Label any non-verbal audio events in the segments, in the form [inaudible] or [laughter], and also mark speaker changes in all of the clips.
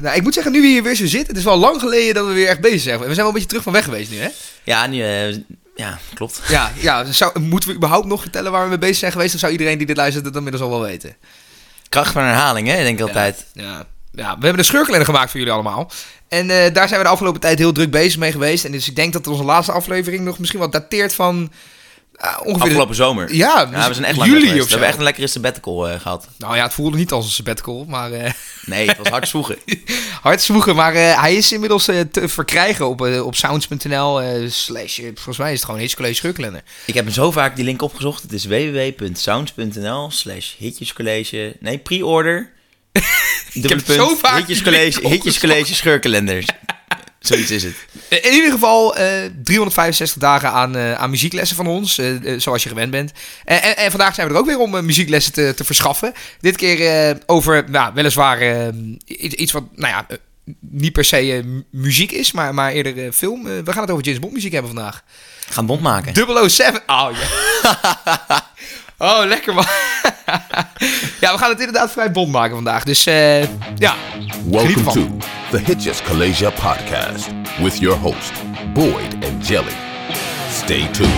Speaker 1: Nou, ik moet zeggen, nu we hier weer zo zitten, het is wel lang geleden dat we weer echt bezig zijn. En we zijn wel een beetje terug van weg geweest nu, hè?
Speaker 2: Ja, nu, eh, ja klopt.
Speaker 1: Ja, ja dus zou, moeten we überhaupt nog vertellen waar we mee bezig zijn geweest? Of zou iedereen die dit luistert het inmiddels al wel weten?
Speaker 2: Kracht van herhaling, hè? Ik denk altijd.
Speaker 1: Ja, ja, we hebben een scheurkalender gemaakt voor jullie allemaal. En eh, daar zijn we de afgelopen tijd heel druk bezig mee geweest. En dus ik denk dat onze laatste aflevering nog misschien wat dateert van ah, ongeveer...
Speaker 2: Afgelopen zomer.
Speaker 1: Ja, dus
Speaker 2: Ja, we zijn echt lang
Speaker 1: juli
Speaker 2: weg geweest.
Speaker 1: of zo.
Speaker 2: We hebben echt een lekkere sabbatical eh, gehad.
Speaker 1: Nou ja, het voelde niet als een sabbatical, maar eh, [laughs]
Speaker 2: Nee, het was hard zwoegen.
Speaker 1: hard zwoegen. Maar eh, hij is inmiddels eh, te verkrijgen op, eh, op sounds.nl eh, slash... eh, volgens mij is het gewoon Hitchcollege Scheurkalender.
Speaker 2: Ik heb hem zo vaak die link opgezocht. Het is www.sounds.nl slash hitjescollege.
Speaker 1: [laughs]
Speaker 2: Nee, pre-order. ik
Speaker 1: heb zo vaak die
Speaker 2: hitjescollege,
Speaker 1: link [laughs]
Speaker 2: hitjescollege scheurkalenders. Zoiets is het.
Speaker 1: In ieder geval eh, 365 dagen aan, eh, aan muzieklessen van ons, eh, eh, zoals je gewend bent. Eh, En, en, en vandaag zijn we er ook weer om eh, muzieklessen te, te verschaffen. Dit keer eh, over, nou, weliswaar eh, iets, iets wat, nou ja, eh, niet per se eh, mu- muziek is, maar, maar eerder eh, film. Eh, we gaan het over James Bond muziek hebben vandaag.
Speaker 2: Gaan bond maken.
Speaker 1: 007. Oh, ja. [laughs] oh, lekker man. [laughs] ja, we gaan het inderdaad vrij bond maken vandaag. Dus eh, ja, geniet
Speaker 3: Welcome
Speaker 1: ervan.
Speaker 3: to the Hitches Kalasia podcast with your host, Boyd and Jelly. Stay tuned.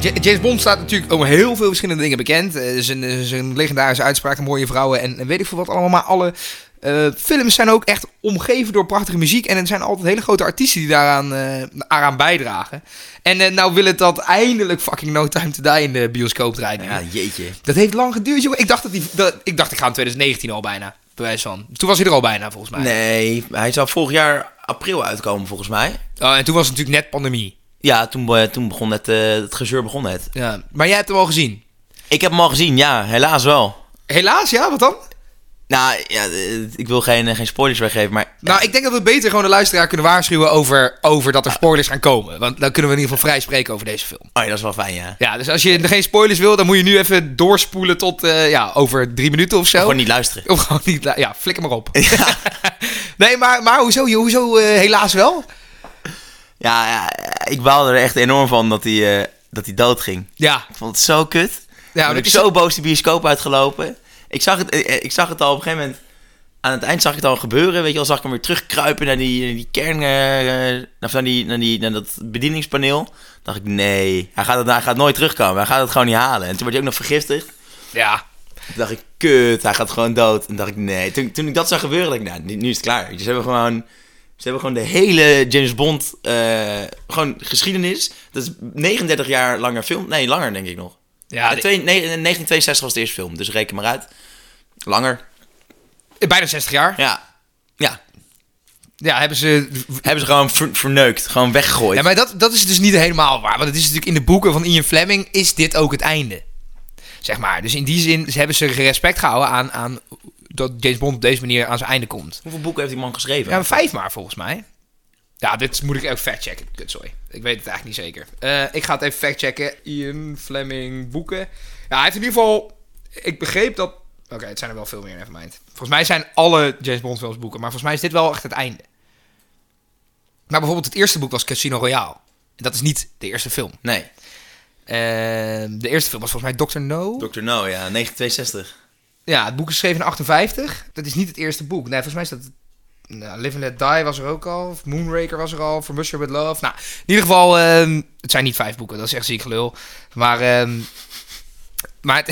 Speaker 1: Ja- James Bond staat natuurlijk om heel veel verschillende dingen bekend. Eh, Zijn, eh, zijn legendarische uitspraken, mooie vrouwen en en weet ik veel wat allemaal. Maar alle eh, films zijn ook echt omgeven door prachtige muziek. En er zijn altijd hele grote artiesten die daaraan, eh, daaraan bijdragen. En eh, nou wil het dat eindelijk fucking No Time To Die in de bioscoop draait.
Speaker 2: Ja, jeetje.
Speaker 1: Dat heeft lang geduurd, jongen. Ik dacht, dat die, dat, ik, dacht ik ga in 2019 al bijna, bewijs van. Toen was hij er al bijna, volgens mij.
Speaker 2: Nee, hij zou vorig jaar april uitkomen volgens mij.
Speaker 1: Oh, en toen was het natuurlijk net pandemie.
Speaker 2: Ja, toen, eh, toen begon het, eh, het gezeur begon het.
Speaker 1: Ja. Maar jij hebt hem al gezien.
Speaker 2: Ik heb hem al gezien, ja, helaas wel.
Speaker 1: Helaas, ja, wat dan?
Speaker 2: Nou, ja, eh, ik wil geen, eh, geen spoilers weggeven, maar
Speaker 1: Nou, ik denk dat we beter gewoon de luisteraar kunnen waarschuwen over, over dat er spoilers gaan komen. Want dan kunnen we in ieder geval vrij spreken over deze film.
Speaker 2: oh, ja, dat is wel fijn, ja.
Speaker 1: Ja, dus als je geen spoilers wil, dan moet je nu even doorspoelen tot eh, ja, over drie minuten of zo.
Speaker 2: Gewoon niet luisteren.
Speaker 1: Of gewoon niet. lu- Ja, flikker maar op. [laughs] nee, maar, maar hoezo? joh? Hoezo eh, helaas wel?
Speaker 2: Ja, ja, eh, ik baalde er echt enorm van dat hij, eh, dat hij dood ging.
Speaker 1: Ja,
Speaker 2: Ik vond het zo kut. Ja,
Speaker 1: maar
Speaker 2: ben ik
Speaker 1: is
Speaker 2: zo boos de bioscoop uitgelopen. Ik zag, het, eh, eh, ik zag het al op een gegeven moment. Aan het eind zag ik het al gebeuren. Weet je al, zag ik hem weer terugkruipen naar die, naar die kern. eh, eh, of naar, die, naar, die, naar dat bedieningspaneel. Dacht ik, nee, hij gaat, het, hij gaat nooit terugkomen. Hij gaat het gewoon niet halen. En toen werd hij ook nog vergiftigd.
Speaker 1: ja.
Speaker 2: Toen dacht ik, kut, hij gaat gewoon dood. En dacht ik, nee. Toen, toen ik dat zag gebeuren, dacht ik, nou, nu- nu is het klaar. Dus ze hebben gewoon, ze hebben gewoon de hele James Bond eh, gewoon geschiedenis. Dat is 39 jaar langer film. Nee, langer denk ik nog.
Speaker 1: ja
Speaker 2: Ja, twee, nee, in 1962 was de eerste film, dus reken maar uit. Langer.
Speaker 1: eh, bijna 60 jaar. Ja,
Speaker 2: Ja. Ja.
Speaker 1: hebben ze.
Speaker 2: Hebben ze gewoon ver- verneukt, gewoon weggegooid.
Speaker 1: Ja, maar dat, dat is dus niet helemaal waar. Want het is natuurlijk in de boeken van Ian Fleming is dit ook het einde. Zeg maar. Dus in die zin ze hebben ze respect gehouden aan, aan dat James Bond op deze manier aan zijn einde komt.
Speaker 2: Hoeveel boeken heeft die man geschreven?
Speaker 1: Ja, maar vijf maar volgens mij. Ja, dit moet ik ook factchecken. Kut, sorry. Ik weet het eigenlijk niet zeker. Eh, ik ga het even factchecken. Ian Fleming boeken. Ja, hij heeft in ieder geval... Ik begreep dat... Oké, het zijn er wel veel meer, nevermind. Volgens mij zijn alle James Bond films boeken. Maar volgens mij is dit wel echt het einde. Maar bijvoorbeeld het eerste boek was Casino Royale. En dat is niet de eerste film.
Speaker 2: Nee.
Speaker 1: Eh, de eerste film was volgens mij Dr. No.
Speaker 2: Dr. No, ja, 1962.
Speaker 1: Ja, het boek is geschreven in 58. Dat is niet het eerste boek. Nee, volgens mij is dat... Nou, Live and Let Die was er ook al. Of Moonraker was er al. From Russia With Love. Nou, in ieder geval... ehm, het zijn niet vijf boeken. Dat is echt ziek gelul. Maar... ehm, maar het-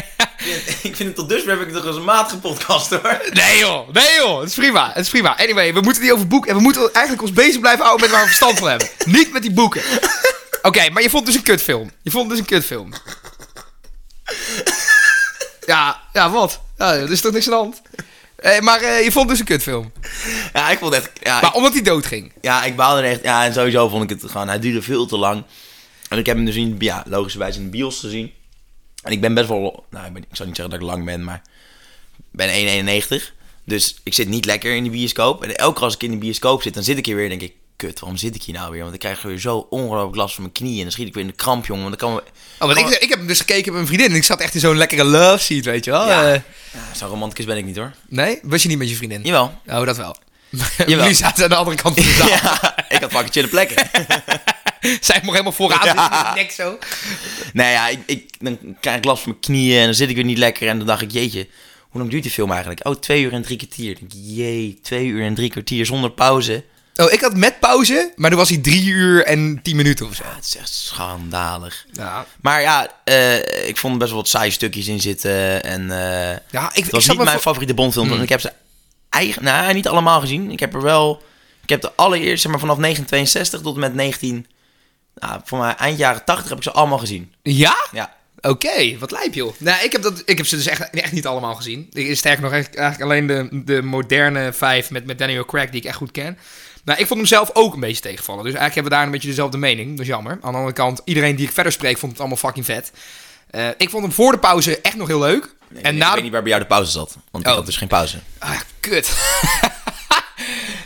Speaker 1: [laughs]
Speaker 2: ik vind het tot dusver heb ik nog eens een maat gepodcast hoor.
Speaker 1: nee joh, nee joh, het is prima, het is prima. Anyway, we moeten niet over boeken en we moeten eigenlijk ons bezig blijven houden met waar we verstand van
Speaker 2: [laughs]
Speaker 1: hebben. Niet met die boeken. Oké, maar je vond dus een kutfilm. Je vond dus een kutfilm. Ja, ja wat? Ja, er is toch niks aan de hand? Eh, maar eh, je vond dus een kutfilm.
Speaker 2: Ja, ik vond het echt... Ja,
Speaker 1: Maar omdat hij dood ging.
Speaker 2: Ja, ik baalde er echt. Ja, en sowieso vond ik het gewoon. Hij duurde veel te lang. En ik heb hem dus in, ja, logischerwijs in de bios gezien. En ik ben best wel. Nou, ik, ben, ik zou niet zeggen dat ik lang ben, maar. Ik ben 1,91. Dus ik zit niet lekker in de bioscoop. En elke keer als ik in de bioscoop zit, dan zit ik hier weer. en denk ik, kut, waarom zit ik hier nou weer? Want ik krijg weer zo ongelooflijk last van mijn knieën. En dan schiet ik weer in de kramp, jongen. Want dan kan we.
Speaker 1: Oh, want ik, ik heb hem dus gekeken met mijn vriendin en ik zat echt in zo'n lekkere love seat, weet je wel.
Speaker 2: Ja.
Speaker 1: Eh,
Speaker 2: Ja, zo romanticus ben ik niet hoor.
Speaker 1: [laughs] nee? Was je niet met je vriendin?
Speaker 2: Jawel.
Speaker 1: Oh, dat wel.
Speaker 2: Jawel.
Speaker 1: Jullie zaten aan de andere kant van de
Speaker 2: [laughs]
Speaker 1: zaal.
Speaker 2: Ja, ik had fucking chille plekken.
Speaker 1: Zij mocht helemaal vooraan zitten
Speaker 2: Ja.
Speaker 1: met die nek zo.
Speaker 2: Nee, Nou ja, ik, ik, dan krijg ik last van mijn knieën en dan zit ik weer niet lekker. En dan dacht ik, jeetje, hoe lang duurt die film eigenlijk? Oh, twee uur en drie kwartier. Ik denk, jee, twee uur en drie kwartier zonder pauze.
Speaker 1: Oh, ik had met pauze, maar toen was hij drie uur en tien minuten of zo.
Speaker 2: Ah, het is echt schandalig.
Speaker 1: Ja,
Speaker 2: Maar ja, eh, ik vond er best wel wat saaie stukjes in zitten. En, eh,
Speaker 1: ja ik,
Speaker 2: het
Speaker 1: ik
Speaker 2: was
Speaker 1: zat
Speaker 2: niet
Speaker 1: me
Speaker 2: mijn
Speaker 1: voor-
Speaker 2: favoriete
Speaker 1: Mm.
Speaker 2: Bondfilm. want Ik heb ze eigen, nou, niet allemaal gezien. Ik heb er wel... Ik heb de allereerste, zeg maar vanaf 1962 tot en met 19... Nou, voor mij eind jaren 80 heb ik ze allemaal gezien.
Speaker 1: Ja?
Speaker 2: Ja.
Speaker 1: Oké, wat lijp joh. Nou, ik heb, dat, ik heb ze dus echt, echt niet allemaal gezien. Ik, sterker nog, eigenlijk eigenlijk alleen de, de moderne vijf met, met Daniel Craig, die ik echt goed ken. Nou, ik vond hem zelf ook een beetje tegenvallen. Dus eigenlijk hebben we daar een beetje dezelfde mening. Dat is jammer. Aan de andere kant, iedereen die ik verder spreek, vond het allemaal fucking vet. Eh, ik vond hem voor de pauze echt nog heel leuk. en
Speaker 2: en
Speaker 1: na
Speaker 2: ik
Speaker 1: de
Speaker 2: weet niet waar bij jou de pauze zat. Want
Speaker 1: Oh.
Speaker 2: ik had dus geen pauze.
Speaker 1: Ah, kut. [laughs]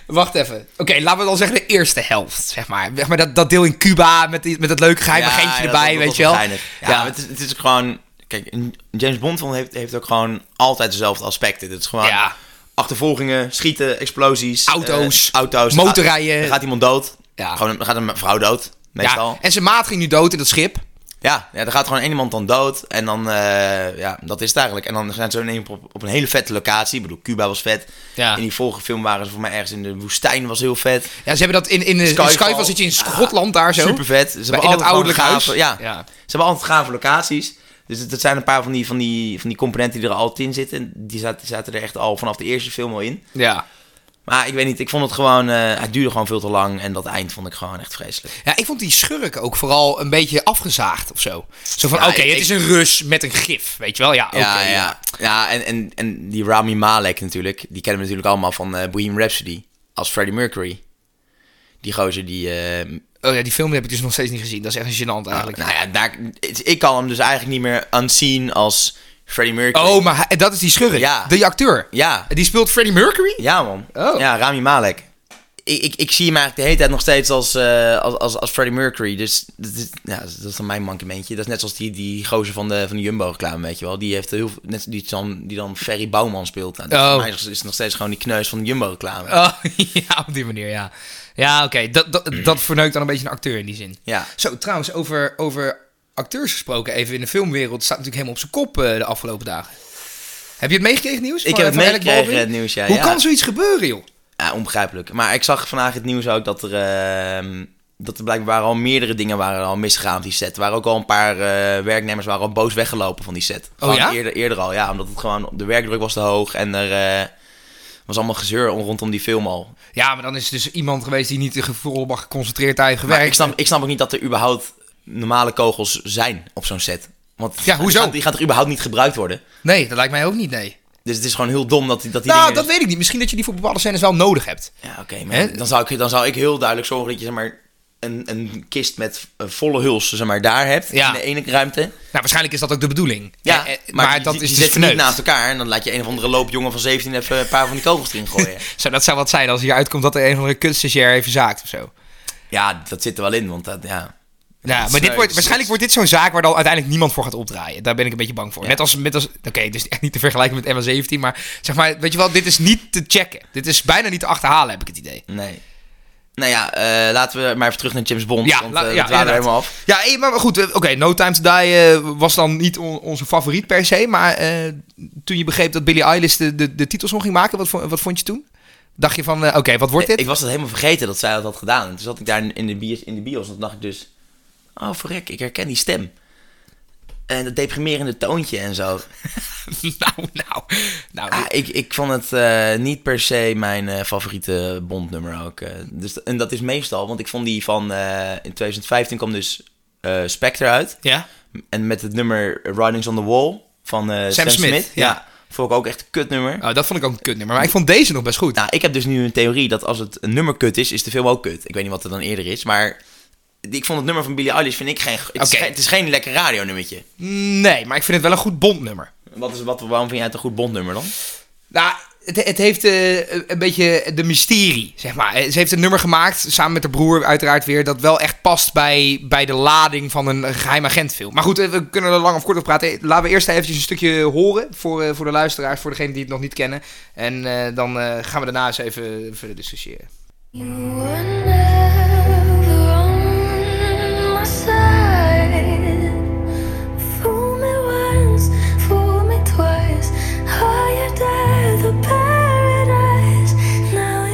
Speaker 1: Wacht even. Oké, laten we dan zeggen de eerste helft, zeg maar. Zeg maar dat, dat deel in Cuba met, die, met dat leuke geheime
Speaker 2: Ja,
Speaker 1: agentje
Speaker 2: ja, dat-
Speaker 1: erbij,
Speaker 2: dat- dat
Speaker 1: weet je
Speaker 2: was
Speaker 1: wel.
Speaker 2: geinig. Ja, maar Het, is, het is gewoon... Kijk, een James Bond film heeft, heeft ook gewoon altijd dezelfde aspecten. Het is gewoon
Speaker 1: Ja.
Speaker 2: achtervolgingen, schieten, explosies.
Speaker 1: Auto's,
Speaker 2: eh, auto's.
Speaker 1: motorrijden.
Speaker 2: Dan gaat iemand dood.
Speaker 1: Ja.
Speaker 2: Gewoon, dan gaat een vrouw dood, meestal.
Speaker 1: Ja, en zijn maat ging nu dood in dat schip.
Speaker 2: Ja, ja, er gaat gewoon één iemand dan dood. En dan, eh, ja, dat is het eigenlijk. En dan zijn ze in één keer op, op een hele vette locatie. Ik bedoel, Cuba was vet.
Speaker 1: Ja.
Speaker 2: In die vorige film waren ze voor mij ergens in de woestijn, was heel vet.
Speaker 1: Ja, ze hebben dat in, in, in
Speaker 2: Skyfall.
Speaker 1: Skyfall zit je in Schotland daar zo.
Speaker 2: Super vet. Ze
Speaker 1: in
Speaker 2: hebben
Speaker 1: dat
Speaker 2: altijd
Speaker 1: ouderlijk
Speaker 2: gewoon
Speaker 1: huis.
Speaker 2: gave- Ja.
Speaker 1: Ja.
Speaker 2: Ze hebben altijd gave locaties. Dus dat zijn een paar van die, van die, van die componenten die er altijd in zitten. Die zaten, zaten er echt al vanaf de eerste film al in.
Speaker 1: Ja.
Speaker 2: Maar ik weet niet, ik vond het gewoon... eh, het duurde gewoon veel te lang. En dat eind vond ik gewoon echt vreselijk.
Speaker 1: ja, ik vond die schurk ook vooral een beetje afgezaagd of zo. Zo van,
Speaker 2: Ja,
Speaker 1: oké,
Speaker 2: ik-
Speaker 1: het is een Rus met een gif, weet je wel. Ja, oké.
Speaker 2: ja, ja. ja en, en, en die Rami Malek natuurlijk. Die kennen we natuurlijk allemaal van eh Bohemian Rhapsody. Als Freddie Mercury. Die gozer die... eh,
Speaker 1: Oh ja, die film heb ik dus nog steeds niet gezien. Dat is echt gênant eigenlijk.
Speaker 2: nou ja, daar, ik kan hem dus eigenlijk niet meer aanzien als Freddie Mercury.
Speaker 1: Oh, maar hij- dat is die schurk.
Speaker 2: Ja.
Speaker 1: Die acteur.
Speaker 2: Ja.
Speaker 1: Die speelt Freddie Mercury?
Speaker 2: Ja, man.
Speaker 1: Oh.
Speaker 2: Ja, Rami Malek. Ik, ik, ik zie hem eigenlijk de hele tijd nog steeds als, eh, als, als, als Freddie Mercury. Dus dat is, ja, dat is dan mijn mankementje. Dat is net zoals die, die gozer van de, van de Jumbo-reclame, weet je wel. Die heeft heel veel- net die dan, die dan Ferry Bouwman speelt. Nou, dat
Speaker 1: Oh.
Speaker 2: voor mij is, is het nog steeds gewoon die kneus van de Jumbo-reclame.
Speaker 1: [laughs] Oh, ja, op die manier, ja. Ja, oké. Dat, dat, dat verneukt dan een beetje een acteur in die zin.
Speaker 2: Ja.
Speaker 1: Zo, trouwens, over, over acteurs gesproken, even in de filmwereld, staat natuurlijk helemaal op zijn kop eh, de afgelopen dagen. Heb je het meegekregen, nieuws?
Speaker 2: Ik
Speaker 1: Van-
Speaker 2: heb het
Speaker 1: van Alec
Speaker 2: meegekregen,
Speaker 1: Baldwin?
Speaker 2: het nieuws, ja,
Speaker 1: Hoe
Speaker 2: ja.
Speaker 1: kan zoiets gebeuren, joh?
Speaker 2: Ja, onbegrijpelijk. Maar ik zag vandaag het nieuws ook dat er, ehm, dat er blijkbaar al meerdere dingen waren al misgegaan op die set. Er waren ook al een paar eh, werknemers waren al boos weggelopen van die set. Gewoon
Speaker 1: Oh ja?
Speaker 2: Eerder, eerder al, ja. Omdat het gewoon, de werkdruk was te hoog en er eh, was allemaal gezeur om- rondom die film al.
Speaker 1: Ja, maar dan is het dus iemand geweest die niet de volledig geconcentreerd heeft
Speaker 2: Maar
Speaker 1: gewerkt.
Speaker 2: ik snap, ik snap ook niet dat er überhaupt normale kogels zijn op zo'n set. Want
Speaker 1: Ja, hoezo?
Speaker 2: Die gaat, die gaat er überhaupt niet gebruikt worden.
Speaker 1: Nee, dat lijkt mij ook niet, nee.
Speaker 2: Dus het is gewoon heel dom dat die, dat die
Speaker 1: nou,
Speaker 2: dingen...
Speaker 1: dat weet ik niet. Misschien dat je die voor bepaalde scènes wel nodig hebt.
Speaker 2: Ja, oké, maar
Speaker 1: Hè?
Speaker 2: dan zou, ik, dan zou ik heel duidelijk zorgen dat je zeg maar, een, een kist met eh, volle huls zeg maar, daar hebt
Speaker 1: Ja.
Speaker 2: in de ene ruimte.
Speaker 1: Nou, waarschijnlijk is dat ook de bedoeling.
Speaker 2: Ja,
Speaker 1: Eh, eh,
Speaker 2: maar, dat
Speaker 1: dat
Speaker 2: die,
Speaker 1: is
Speaker 2: is
Speaker 1: dus
Speaker 2: zet je niet
Speaker 1: verneukt.
Speaker 2: naast elkaar en dan laat je een of andere loopjongen van 17 even een paar van die kogels erin
Speaker 1: [laughs]
Speaker 2: gooien.
Speaker 1: Zo, dat zou wat zijn als hier uitkomt dat er een of andere kunststagiair even zaakt of zo.
Speaker 2: ja, dat zit er wel in, want dat, ja.
Speaker 1: Ja,
Speaker 2: is
Speaker 1: maar dit
Speaker 2: leuk,
Speaker 1: wordt,
Speaker 2: dus
Speaker 1: waarschijnlijk wordt dit zo'n zaak waar dan uiteindelijk niemand voor gaat opdraaien. Daar ben ik een beetje bang voor. Net als, net als oké, dus echt niet te vergelijken met MA17, maar zeg maar, weet je wel, dit is niet te checken. Dit is bijna niet te achterhalen, heb ik het idee.
Speaker 2: Nee. Nou ja, eh, laten we maar even terug naar James Bond, want
Speaker 1: la-
Speaker 2: eh, dat waren
Speaker 1: inderdaad.
Speaker 2: er helemaal af.
Speaker 1: Ja, eh, maar goed, eh, oké, No Time To Die eh, was dan niet on- onze favoriet per se, maar eh, toen je begreep dat Billie Eilish de, de, de titelsong ging maken, wat, vo- wat vond je toen? Dacht je van, eh, oké, wat wordt dit?
Speaker 2: Ik was dat helemaal vergeten dat zij dat had gedaan. En toen zat ik daar in de, bios, in de bios en toen dacht ik dus... Oh, verrek, ik herken die stem. En dat deprimerende toontje en zo.
Speaker 1: [laughs] nou, nou, nou.
Speaker 2: Ah, ik, ik vond het eh, niet per se mijn eh, favoriete Bondnummer ook. eh. dus, en dat is meestal, want ik vond die van... eh, in 2015 kwam dus eh, Spectre uit.
Speaker 1: ja?
Speaker 2: En met het nummer Writings on the Wall van eh, Sam,
Speaker 1: Smith,
Speaker 2: Smith.
Speaker 1: ja.
Speaker 2: ja. Vond ik ook echt een kutnummer.
Speaker 1: Oh, dat vond ik ook een kutnummer, maar ik vond deze nog best goed.
Speaker 2: Nou, ik heb dus nu een theorie dat als het een nummer kut is, is de film ook kut. Ik weet niet wat er dan eerder is, maar ik vond het nummer van Billie Eilish vind ik geen. Het, is,
Speaker 1: Oké.
Speaker 2: geen- het is geen lekker radionummertje.
Speaker 1: Nee, maar ik vind het wel een goed bondnummer.
Speaker 2: Wat is wat? Waarom vind jij het een goed bondnummer dan?
Speaker 1: Nou, het, het heeft eh, een beetje de mysterie, zeg maar. Eh, Ze heeft een nummer gemaakt, samen met de broer uiteraard weer... dat wel echt past bij, bij de lading van een geheim agentfilm. Maar goed, eh, we kunnen er lang of kort op praten. Eh, Laten we eerst even een stukje horen voor, eh, voor de luisteraars... voor degenen die het nog niet kennen. En eh, dan eh, gaan we daarna eens even verder discussiëren.
Speaker 4: You were never on my side. Fool me once, fool me twice. Higher than the paradise. Now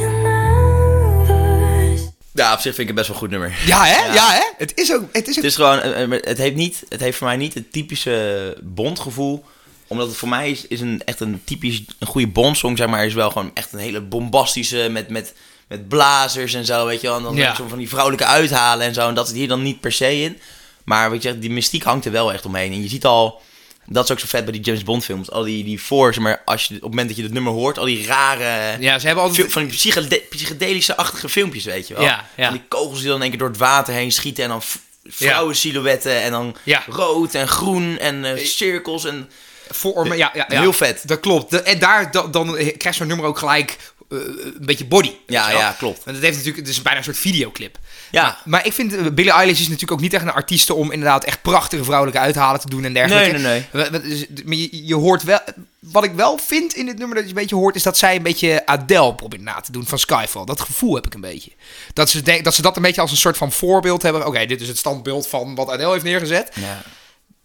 Speaker 4: you're never.
Speaker 2: Ja, op zich vind ik het best wel een goed [laughs] nummer.
Speaker 1: Ja, hè? Ja,
Speaker 2: Ja.
Speaker 1: hè? Het is ook... Het is ook
Speaker 2: Het is gewoon, eh, eh, maar het heeft, niet, het heeft voor mij niet het typische bondgevoel. Omdat het voor mij is, is een, echt een typisch, een goede bondsong, zeg maar, is wel gewoon echt een hele bombastische, met, met, met blazers en zo, weet je wel. En dan
Speaker 1: Ja.
Speaker 2: zo van die vrouwelijke uithalen en zo, en dat zit hier dan niet per se in. Maar wat je zegt, die mystiek hangt er wel echt omheen. En je ziet al, dat is ook zo vet bij die James Bond films, al die, die voor, zeg maar, als je, op het moment dat je dat nummer hoort, al die rare...
Speaker 1: Ja, ze hebben altijd...
Speaker 2: Fil- van die psychede- psychedelische-achtige filmpjes, weet je wel.
Speaker 1: Ja, ja.
Speaker 2: Van die kogels die dan in één keer door het water heen schieten en dan v- vrouwen silhouetten en dan
Speaker 1: Ja.
Speaker 2: rood en groen en eh, cirkels en...
Speaker 1: vormen. Ja, ja, ja.
Speaker 2: Heel vet.
Speaker 1: Dat klopt. De- en daar da- dan krijgt zo'n nummer ook gelijk eh, een beetje body.
Speaker 2: Ja,
Speaker 1: Weet je wel?
Speaker 2: ja, klopt.
Speaker 1: Want het, heeft natuurlijk, het is bijna een soort videoclip.
Speaker 2: Ja.
Speaker 1: Maar, maar ik vind, eh, Billie Eilish is natuurlijk ook niet echt een artiest om inderdaad echt prachtige vrouwelijke uithalen te doen en dergelijke.
Speaker 2: Nee, nee,
Speaker 1: Wa- wa- dus- Maar je, je hoort wel, wat ik wel vind in dit nummer dat je een beetje hoort, is dat zij een beetje Adele probeert na te doen van Skyfall. Dat gevoel heb ik een beetje. Dat ze, denk, dat, ze dat een beetje als een soort van voorbeeld hebben. Oké, dit is het standbeeld van wat Adele heeft neergezet.
Speaker 2: Ja.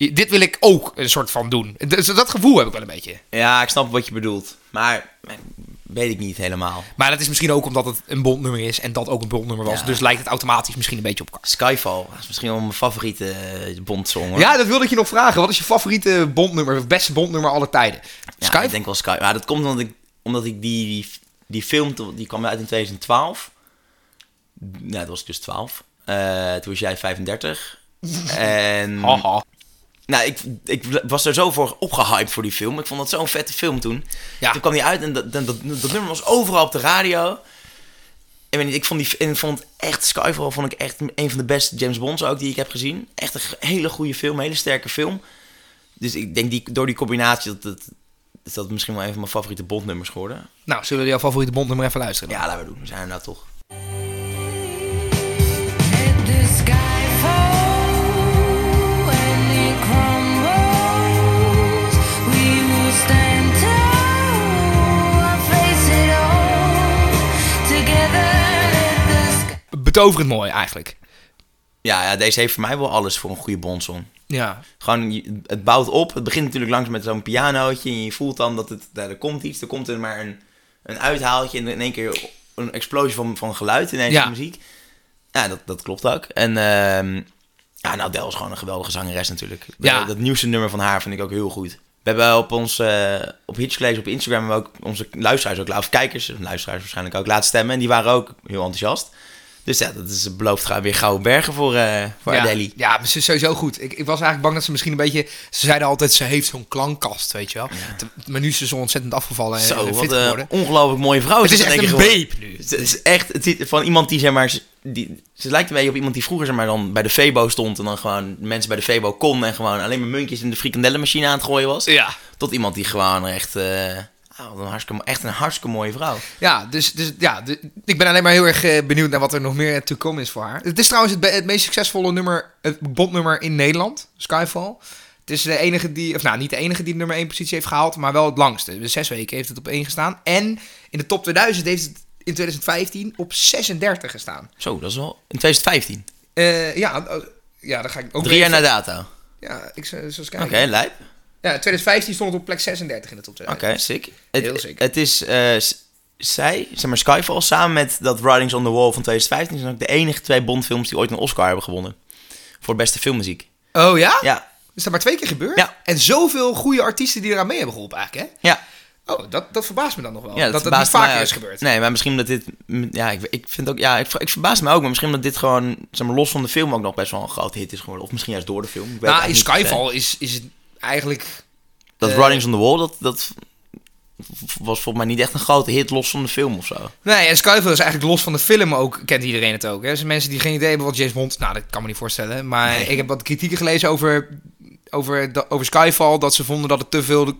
Speaker 1: I- Dit wil ik ook een soort van doen. Dus dat gevoel heb ik wel een beetje.
Speaker 2: ja, ik snap wat je bedoelt. Maar eh, weet ik niet helemaal.
Speaker 1: Maar dat is misschien ook omdat het een bondnummer is en dat ook een bondnummer was.
Speaker 2: Ja.
Speaker 1: Dus lijkt het automatisch misschien een beetje op elkaar.
Speaker 2: Skyfall dat is misschien wel mijn favoriete eh, bondsong, hoor.
Speaker 1: Ja, dat wilde ik je nog vragen. Wat is je favoriete bondnummer, of beste bondnummer aller tijden?
Speaker 2: Ja,
Speaker 1: Skype?
Speaker 2: ik denk wel Skype. Maar dat komt omdat ik, omdat ik die, die, die film, to- die kwam uit in 2012. Nou, dat was ik dus 12. Eh, toen was jij
Speaker 1: [laughs]
Speaker 2: 35. en...
Speaker 1: Haha.
Speaker 2: Nou, ik, ik was er zo voor opgehyped voor die film. Ik vond dat zo'n vette film toen.
Speaker 1: Ja.
Speaker 2: Toen kwam die uit en dat, dat, dat, dat nummer was overal op de radio. Ik weet niet, ik vond, die, en ik vond echt Skyfall vond ik echt een van de beste James Bonds ook die ik heb gezien. Echt een g- hele goede film, een hele sterke film. Dus ik denk die, door die combinatie dat, dat, is dat misschien wel een van mijn favoriete Bondnummers geworden.
Speaker 1: Nou, zullen we jouw favoriete bondnummer even luisteren? dan?
Speaker 2: Ja, laten we doen. We zijn er nou toch.
Speaker 5: Let the sky fall and it crumbles. We will stand tall, face it all together. Let the sky.
Speaker 1: Betoverend mooi eigenlijk.
Speaker 2: Ja, ja, deze heeft voor mij wel alles voor een goede Bondsong.
Speaker 1: Ja.
Speaker 2: Gewoon, je- het bouwt op. Het begint natuurlijk langs met zo'n pianootje. En je voelt dan dat het, nou, er komt iets. Er komt er maar een, een uithaaltje. En in één keer een explosie van, van geluid in deze
Speaker 1: Ja.
Speaker 2: muziek. Ja, dat, dat klopt ook. En ehm ja, nou, Adele is gewoon een geweldige zangeres natuurlijk.
Speaker 1: Ja.
Speaker 2: Dat, dat nieuwste nummer van haar vind ik ook heel goed. We hebben op ons, eh op Hitchcollege op Instagram, hebben we ook onze luisteraars ook, la- of kijkers, luisteraars waarschijnlijk ook, laten stemmen. En die waren ook heel enthousiast. Dus ja, dat is beloofd gaan weer gouden bergen voor, eh voor
Speaker 1: ja.
Speaker 2: Adele.
Speaker 1: Ja, maar ze is sowieso goed. Ik, ik was eigenlijk bang dat ze misschien een beetje... Ze zeiden altijd, ze heeft zo'n klankkast, weet je wel. Te- Maar nu is ze zo ontzettend afgevallen en-
Speaker 2: Zo,
Speaker 1: en fit
Speaker 2: wat een
Speaker 1: geworden.
Speaker 2: ongelooflijk mooie vrouw.
Speaker 1: Het is
Speaker 2: dat
Speaker 1: echt
Speaker 2: denk ik
Speaker 1: een
Speaker 2: gewoon.
Speaker 1: beep nu.
Speaker 2: Het is echt het ziet van iemand die, zeg maar, die, ze lijkt een beetje op iemand die vroeger zeg maar, dan bij de Febo stond. En dan gewoon mensen bij de Febo kon en gewoon alleen maar muntjes in de frikandellenmachine aan het gooien was.
Speaker 1: Ja.
Speaker 2: Tot iemand die gewoon echt, eh, ah, wat een hartstikke, echt een hartstikke mooie vrouw.
Speaker 1: Ja, dus, dus ja, de- ik ben alleen maar heel erg eh, benieuwd naar wat er nog meer te komen is voor haar. Het is trouwens het, be- het meest succesvolle nummer, het bondnummer in Nederland, Skyfall. Het is de enige die, of nou niet de enige die de nummer 1 positie heeft gehaald, maar wel het langste. Dus zes weken heeft het op 1 gestaan. En in de top 2000 heeft het in 2015 op 36 gestaan.
Speaker 2: Zo, dat is wel in 2015.
Speaker 1: Eh, ja, eh, ja, dan ga ik ook
Speaker 2: Drie jaar
Speaker 1: even-
Speaker 2: na dato. Oké,
Speaker 1: Ja, ik zal zal eens kijken.
Speaker 2: lijp.
Speaker 1: Ja, in 2015 stond het op plek 36 in de top 2000.
Speaker 2: Oké, sick. Het,
Speaker 1: Heel sick.
Speaker 2: Het is eh, s- zij, zeg maar Skyfall, samen met dat Writings on the Wall van 2015... zijn ook de enige twee Bondfilms die ooit een Oscar hebben gewonnen. Voor beste filmmuziek.
Speaker 1: Oh ja?
Speaker 2: Ja,
Speaker 1: Is dat maar twee keer gebeurd?
Speaker 2: Ja.
Speaker 1: En zoveel goede artiesten die eraan mee hebben geholpen eigenlijk, hè?
Speaker 2: ja.
Speaker 1: Oh, dat, dat verbaast me dan nog wel.
Speaker 2: ja
Speaker 1: dat dat niet
Speaker 2: verbaast mij
Speaker 1: vaker
Speaker 2: ook.
Speaker 1: is gebeurd. Nou,
Speaker 2: Nee, maar misschien dat dit... m- Ja, ik, ik vind ook... Ja, ik, ver- ik verbaas me ook. Maar misschien dat dit gewoon, zeg maar, los van de film ook nog best wel een groot hit is geworden. Of misschien juist door de film. Ik weet
Speaker 1: nou,
Speaker 2: het
Speaker 1: in
Speaker 2: eigenlijk niet eh. per se.
Speaker 1: Skyfall is, is het eigenlijk...
Speaker 2: Dat
Speaker 1: eh,
Speaker 2: Writings on the Wall, dat, dat v- was volgens mij niet echt een grote hit los van de film of zo.
Speaker 1: Nee, en Skyfall is eigenlijk los van de film ook, kent iedereen het ook. Hè? Er zijn mensen die geen idee hebben wat James Bond... Nou, dat kan me niet voorstellen. Maar ik heb wat kritieken gelezen over, over, da- over Skyfall. Dat ze vonden dat het te veel de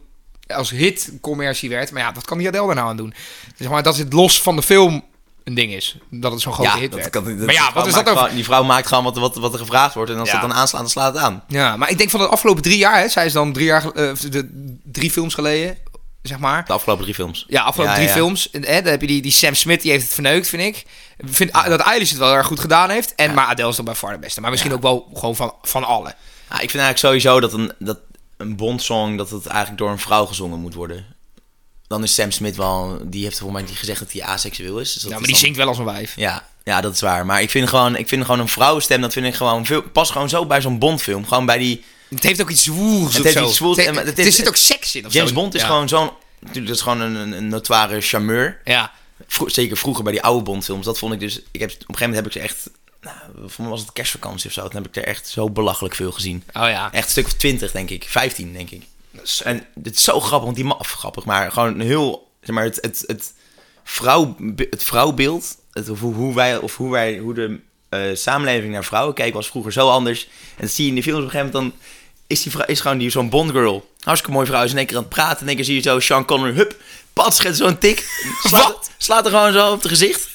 Speaker 1: als hit commercie werd. Maar ja, wat kan die Adele daar nou aan doen? Zeg maar, dat het los van de film een ding is. Dat het zo'n grote hit werd. maar ja, wat is dat over...
Speaker 2: over? Die vrouw maakt gewoon wat, wat, wat er gevraagd wordt. En als
Speaker 1: Ja.
Speaker 2: dat dan aanslaat, dan slaat het aan.
Speaker 1: Ja, maar ik denk van de afgelopen drie jaar, hè, zij is dan drie, jaar, gel- eh, de, drie films geleden, zeg maar.
Speaker 2: De afgelopen drie films.
Speaker 1: Ja, afgelopen
Speaker 2: Ja,
Speaker 1: drie
Speaker 2: ja.
Speaker 1: films. En, Hè, dan heb je die, die Sam Smith, die heeft het verneukt, vind ik. Ik vind ah, dat Eilish het wel erg goed gedaan heeft. En, Maar Adele is dan bij far de beste. Maar misschien ook wel gewoon van, van alle.
Speaker 2: Ja, ik vind eigenlijk sowieso dat een, dat een Bond-song... dat het eigenlijk door een vrouw gezongen moet worden. Dan is Sam Smith wel... die heeft volgens mij niet gezegd dat hij aseksueel is. Dus dat
Speaker 1: Ja,
Speaker 2: is
Speaker 1: maar die
Speaker 2: dan-
Speaker 1: zingt wel als een wijf.
Speaker 2: Ja, ja, dat is waar. Maar ik vind gewoon, ik vind gewoon een vrouwenstem... dat vind ik gewoon... Veel, past gewoon zo bij zo'n Bond-film. Gewoon bij die...
Speaker 1: Het heeft ook iets zwoels
Speaker 2: Het
Speaker 1: of
Speaker 2: heeft
Speaker 1: zo.
Speaker 2: iets zwoels
Speaker 1: Het-
Speaker 2: en- maar het
Speaker 1: er
Speaker 2: is-
Speaker 1: zit ook seks in of
Speaker 2: James
Speaker 1: zo.
Speaker 2: Bond is
Speaker 1: Ja.
Speaker 2: gewoon zo'n... Natuurlijk, dat is gewoon een, een, een notoire charmeur.
Speaker 1: Ja.
Speaker 2: Vro- zeker vroeger bij die oude Bondfilms. Dat vond ik dus... Ik heb, op een gegeven moment heb ik ze echt... Nou, voor mij was het kerstvakantie of zo. Toen heb ik er echt zo belachelijk veel gezien.
Speaker 1: Oh ja.
Speaker 2: Echt een stuk of twintig, denk ik. Vijftien, denk ik. Dus, En het is zo grappig, want die man... of grappig, maar gewoon een heel... Zeg maar, het, het, het, vrouw, het vrouwbeeld... Het, of hoe, hoe wij, of hoe, wij, hoe de eh, samenleving naar vrouwen kijken was vroeger zo anders. En dat zie je in die films op een gegeven moment dan... Is, die vrou- is gewoon die, zo'n Bondgirl. Hartstikke mooie vrouw. Is in één keer aan het praten. In één keer zie je zo Sean Connery. Hup. Pat schet zo'n tik.
Speaker 1: [laughs]
Speaker 2: Slaat, slaat er gewoon zo op het gezicht.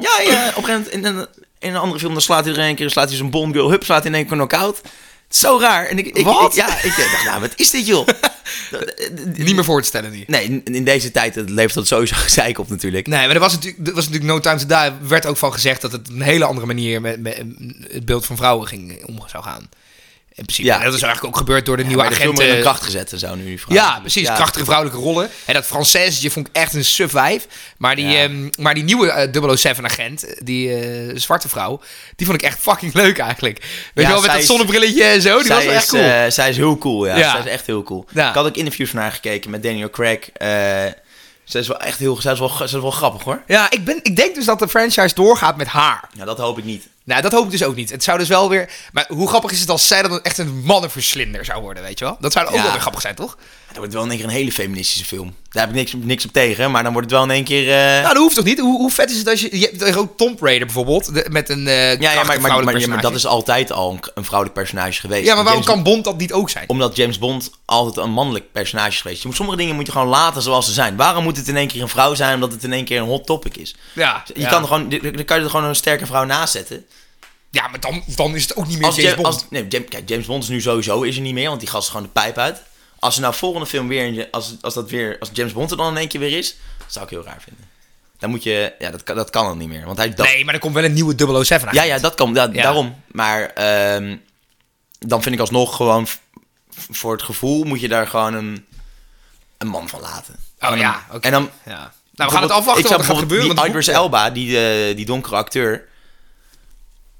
Speaker 2: Ja, ja, op een gegeven moment in een, in een andere film dan slaat hij er een keer, slaat hij zo'n bondgirl, hup, slaat hij in één keer knock-out. Zo raar. En ik, ik,
Speaker 1: Wat?
Speaker 2: ik- ja, ik dacht, nou, wat is
Speaker 1: [laughs]
Speaker 2: dit joh?
Speaker 1: Niet meer voor te stellen nu.
Speaker 2: Nee, in, in deze tijd eh, levert dat sowieso [laughs] gezeik op natuurlijk.
Speaker 1: Nee, maar er was natuurlijk, er was natuurlijk No Time To Die. Er werd ook van gezegd dat het een hele andere manier met, met het beeld van vrouwen ging, eh, om zou gaan. In principe.
Speaker 2: Ja.
Speaker 1: En dat is eigenlijk ook gebeurd door de nieuwe
Speaker 2: Maar de film wordt in
Speaker 1: agenten.
Speaker 2: een kracht gezet en zo nu. die vrouw.
Speaker 1: Ja, precies. Krachtige vrouwelijke rollen. En dat Françaisje vond ik echt een suf wijf. Maar die,
Speaker 2: Ja.
Speaker 1: ehm, maar die nieuwe 007-agent, die eh, zwarte vrouw, die vond ik echt fucking leuk eigenlijk. Weet
Speaker 2: Ja,
Speaker 1: je wel, met
Speaker 2: zij
Speaker 1: dat
Speaker 2: is-
Speaker 1: zonnebrilletje en zo. Oh, Die
Speaker 2: zij
Speaker 1: was wel
Speaker 2: is,
Speaker 1: echt cool.
Speaker 2: eh, zij is heel cool, ja.
Speaker 1: Ja.
Speaker 2: Zij is echt heel cool.
Speaker 1: Ja.
Speaker 2: Ik had ook interviews van haar gekeken met Daniel Craig. eh, zij is wel echt heel, zij is wel, zij is wel grappig hoor.
Speaker 1: ja, ik, ben, ik denk dus dat de franchise doorgaat met haar.
Speaker 2: Ja, dat hoop ik niet.
Speaker 1: Nou, dat hoop ik dus ook niet. Het zou dus wel weer... Maar hoe grappig is het als zij dan echt een mannenverslinder zou worden, weet je wel? Dat zou ook
Speaker 2: Ja.
Speaker 1: wel weer grappig zijn, toch?
Speaker 2: Dat wordt wel in één keer een hele feministische film. Daar heb ik niks, niks op tegen, maar dan wordt het wel in één keer... eh,
Speaker 1: Nou, dat hoeft toch niet? Hoe, hoe vet is het als je... Je hebt ook Tomb Raider bijvoorbeeld, de- met een eh
Speaker 2: Ja, ja maar, maar, maar, maar,
Speaker 1: maar
Speaker 2: dat is altijd al een, een vrouwelijk personage geweest.
Speaker 1: Ja, maar waarom
Speaker 2: James-
Speaker 1: kan Bond dat niet ook zijn?
Speaker 2: Omdat James Bond altijd een mannelijk personage is geweest. Je moet, sommige dingen moet je gewoon laten zoals ze zijn. Waarom moet het in één keer een vrouw zijn omdat het in één keer een hot topic is?
Speaker 1: Ja,
Speaker 2: Je
Speaker 1: ja.
Speaker 2: Kan er gewoon, dan kan je er gewoon een sterke vrouw naast zetten.
Speaker 1: Ja, maar dan, dan is het ook niet meer James
Speaker 2: Ja-
Speaker 1: Bond.
Speaker 2: als- nee, James, kijk, James Bond is nu sowieso is er niet meer, want die gast is gewoon de pijp uit. Als er nou volgende film weer, een- als, als, dat weer, als James Bond er dan in één keer weer is, dat zou ik heel raar vinden. Dan moet je, ja, dat, kan- dat kan dan niet meer. Want hij, dat,
Speaker 1: Nee, maar er komt wel een nieuwe 007 Oh, aan.
Speaker 2: Ja, ja, dat kan. Ja,
Speaker 1: Ja.
Speaker 2: Daarom. Maar ehm, dan vind ik alsnog gewoon v- voor het gevoel moet je daar gewoon een, een man van laten.
Speaker 1: Oh ja, oké.
Speaker 2: En dan,
Speaker 1: Ja. Nou, we gaan het afwachten wat
Speaker 2: Ik zou
Speaker 1: er gaat
Speaker 2: bijvoorbeeld
Speaker 1: gebeuren.
Speaker 2: Die
Speaker 1: want-
Speaker 2: Idris Elba, die, eh, die donkere acteur. Het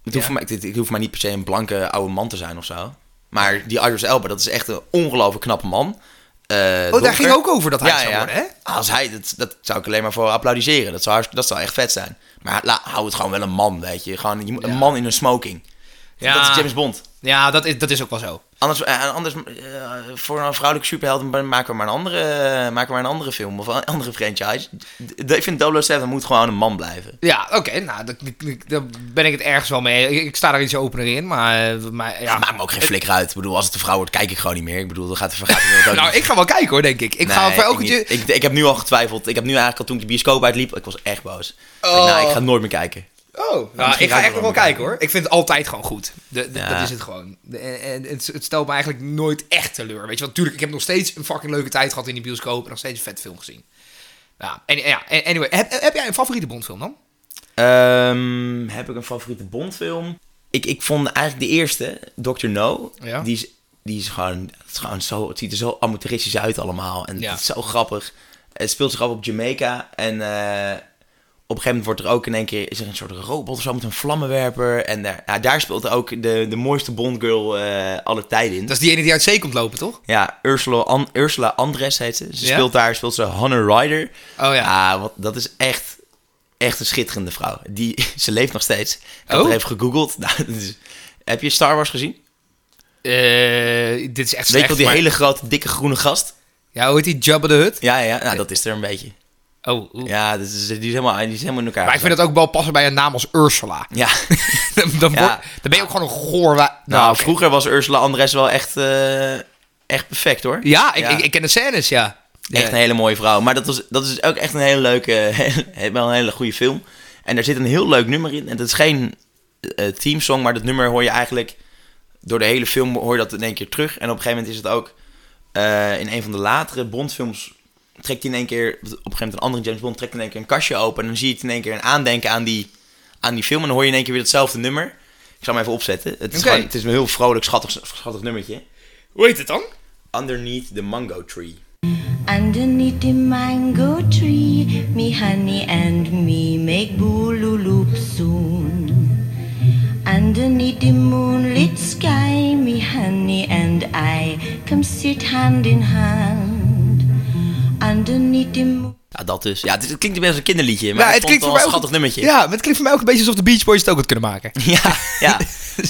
Speaker 1: Ja.
Speaker 2: hoeft, voor mij, het, het hoeft voor mij niet per se een blanke oude man te zijn of zo. Maar die Idris Elba, dat is echt een ongelooflijk knappe man. Eh,
Speaker 1: Oh, daar ging ook over dat hij het zou worden, hè?
Speaker 2: Als hij, dat, dat zou ik alleen maar voor applaudisseren. Dat zou, hartst- dat zou echt vet zijn. Maar la- hou het gewoon wel een man, weet je. Gewoon, je moet-
Speaker 1: Ja.
Speaker 2: Een man in een smoking.
Speaker 1: Ja.
Speaker 2: Dat is James Bond.
Speaker 1: Ja, dat is, dat is ook wel zo.
Speaker 2: Anders, eh, anders eh, voor een vrouwelijke superheld maken we maar een andere, eh, maken we maar een andere film of een andere franchise. D- d- ik vind 007 moet gewoon een man blijven.
Speaker 1: Ja, oké. nou, dat- dat- daar ben ik het ergens wel mee. Ik, ik sta daar iets opener in, maar... eh, maar ja.
Speaker 2: Ja, maakt me ook geen flikker uit. Ik bedoel, als het een vrouw wordt, kijk ik gewoon niet meer. Ik bedoel, dan gaat de
Speaker 1: [laughs]
Speaker 2: vergadering ook
Speaker 1: Nou, ik ga wel kijken hoor, denk ik. Ik ga voor elke...
Speaker 2: ik, niet. ik, ik heb nu al getwijfeld. Ik heb nu eigenlijk al toen ik de bioscoop uitliep, ik was echt boos. Ik dacht,
Speaker 1: Oh.
Speaker 2: nou, ik ga nooit meer kijken.
Speaker 1: Oh, nou,
Speaker 2: misschien
Speaker 1: ik ga
Speaker 2: ga ik
Speaker 1: echt nog wel
Speaker 2: wel wel
Speaker 1: kijken hoor. Ik vind het altijd gewoon goed. De, de-
Speaker 2: Ja.
Speaker 1: Dat is het gewoon. De- en het, het stelt me eigenlijk nooit echt teleur. Weet je, want natuurlijk, ik heb nog steeds een fucking leuke tijd gehad in die bioscoop. En nog steeds een vet film gezien. Ja, en, ja en- anyway. Heb, heb jij een favoriete Bondfilm dan?
Speaker 2: Ehm, heb ik een favoriete Bondfilm? Ik, ik vond eigenlijk de eerste, Dr. No.
Speaker 1: Ja.
Speaker 2: Die is, die is gewoon, het is gewoon zo, het ziet er zo amateuristisch uit allemaal. En
Speaker 1: Ja.
Speaker 2: het is zo grappig. Het speelt zich af op Jamaica. En eh, op een gegeven moment wordt er ook in één keer is er een soort robot of zo met een vlammenwerper. En daar, ja, daar speelt ook de, de mooiste Bondgirl eh alle tijden in.
Speaker 1: Dat is die ene die uit zee komt lopen, toch?
Speaker 2: Ja, Ursula, An- Ursula Andres heet ze. Ze
Speaker 1: Ja? Oh,
Speaker 2: speelt daar, speelt ze Hannah Ryder. Ah,
Speaker 1: ja.
Speaker 2: wat, dat is echt, echt een schitterende vrouw. Die, [laughs] ze leeft nog steeds. Ik had
Speaker 1: Oh.
Speaker 2: er even gegoogeld. [laughs] Nou, dat is- heb je Star Wars gezien?
Speaker 1: Eh, dit is echt slecht.
Speaker 2: Weet je wel, die
Speaker 1: maar-
Speaker 2: hele grote, dikke groene gast?
Speaker 1: Ja, hoe heet die? Jabba de Hutt?
Speaker 2: Ja, ja, nou, dat is er een beetje.
Speaker 1: Oh, oeh.
Speaker 2: Ja, dat is, die, is helemaal, die is helemaal in elkaar.
Speaker 1: Maar ik vind het ook wel passen bij een naam als Ursula.
Speaker 2: Ja.
Speaker 1: [laughs]
Speaker 2: [laughs]
Speaker 1: dan, dan
Speaker 2: Ja.
Speaker 1: word- dan ben je ook gewoon een goor... wa-
Speaker 2: nou,
Speaker 1: oké.
Speaker 2: vroeger was Ursula Andres wel echt, eh, echt perfect hoor.
Speaker 1: Ja, ik, Ik, ik ken de scènes, ja.
Speaker 2: Echt een
Speaker 1: Ja.
Speaker 2: hele mooie vrouw. Maar dat, was, dat is ook echt een hele leuke, [laughs] wel een hele goede film. En daar zit een heel leuk nummer in. En dat is geen eh teamsong, maar dat nummer hoor je eigenlijk door de hele film hoor je dat in één keer terug. En op een gegeven moment is het ook eh, in een van de latere Bondfilms trekt hij in één keer, op een gegeven moment een andere James Bond trekt in één keer een kastje open. En dan zie je het in één keer een aandenken aan die, aan die film. En dan hoor je in één keer weer hetzelfde nummer. Ik zal hem even opzetten. Het is,
Speaker 1: Oké.
Speaker 2: gewoon- het is een heel vrolijk, schattig, schattig nummertje.
Speaker 1: Hoe heet het dan?
Speaker 2: Underneath the Mango Tree.
Speaker 6: Underneath the mango tree, me honey and me make boolooloop soon. Underneath the moonlit sky, me honey and I come sit hand in hand. Underneath the moon.
Speaker 2: Ja, dat dus. Ja, het, is- het klinkt best als een kinderliedje, maar
Speaker 1: Ja,
Speaker 2: ik vond het klinkt wel een schattig
Speaker 1: ook,
Speaker 2: nummertje.
Speaker 1: Ja, maar het klinkt voor mij ook een beetje alsof de Beach Boys het ook had kunnen [laughs] maken.
Speaker 2: ja, [laughs] Dus-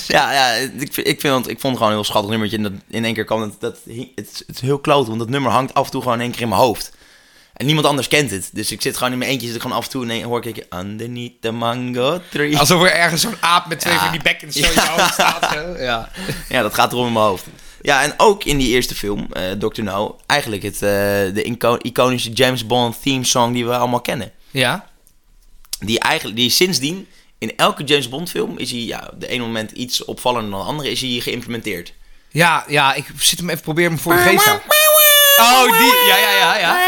Speaker 2: ja. ja, ja, ik, vind- ik, vind, het- ik vond het gewoon een heel schattig nummertje. En dat, in één keer kwam het, dat, hing- het, is- het is heel kloot, want dat nummer hangt af en toe gewoon in één keer in mijn hoofd. En niemand anders kent het. Dus ik zit gewoon in mijn eentje, zit ik gewoon af en toe en dan hoor ik underneath the mango tree.
Speaker 1: Alsof er ergens zo'n aap met twee
Speaker 2: Ja.
Speaker 1: van die bekkens zo in
Speaker 2: Ja.
Speaker 1: je hoofd staat. hè? Ja.
Speaker 2: Ja, dat gaat erom in mijn hoofd. Ja, en ook in die eerste film, eh Dr. No, eigenlijk het, eh, de inco- iconische James Bond theme song die we allemaal kennen.
Speaker 1: ja.
Speaker 2: die eigenlijk die sindsdien in elke James Bond film is hij ja, de ene moment iets opvallender dan de andere is hij geïmplementeerd.
Speaker 1: Ja, ja, ik zit hem even proberen hem voor de geest te houden. Oh, die. Ja, ja, ja, ja.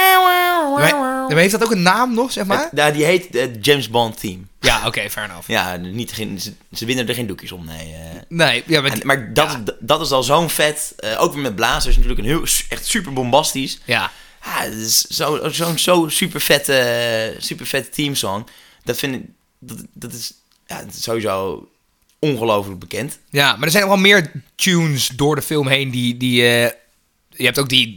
Speaker 1: Maar, maar heeft dat ook een naam nog, zeg maar?
Speaker 2: Het- ja, die heet het James Bond Team.
Speaker 1: Ja, oké, fair enough.
Speaker 2: Ja, niet, geen, ze, ze winnen er geen doekjes om. Nee, eh.
Speaker 1: Nee, ja, maar...
Speaker 2: En- maar dat, d- dat is al zo'n vet. eh, ook weer met blazers natuurlijk een heel, echt super bombastisch.
Speaker 1: Ja.
Speaker 2: Ja, het is zo- zo'n zo, super vette, super vette teamsong. Dat vind ik. Dat, dat is, ja, het is sowieso ongelooflijk bekend.
Speaker 1: Ja, maar er zijn ook wel meer tunes door de film heen die... die eh, je hebt ook die...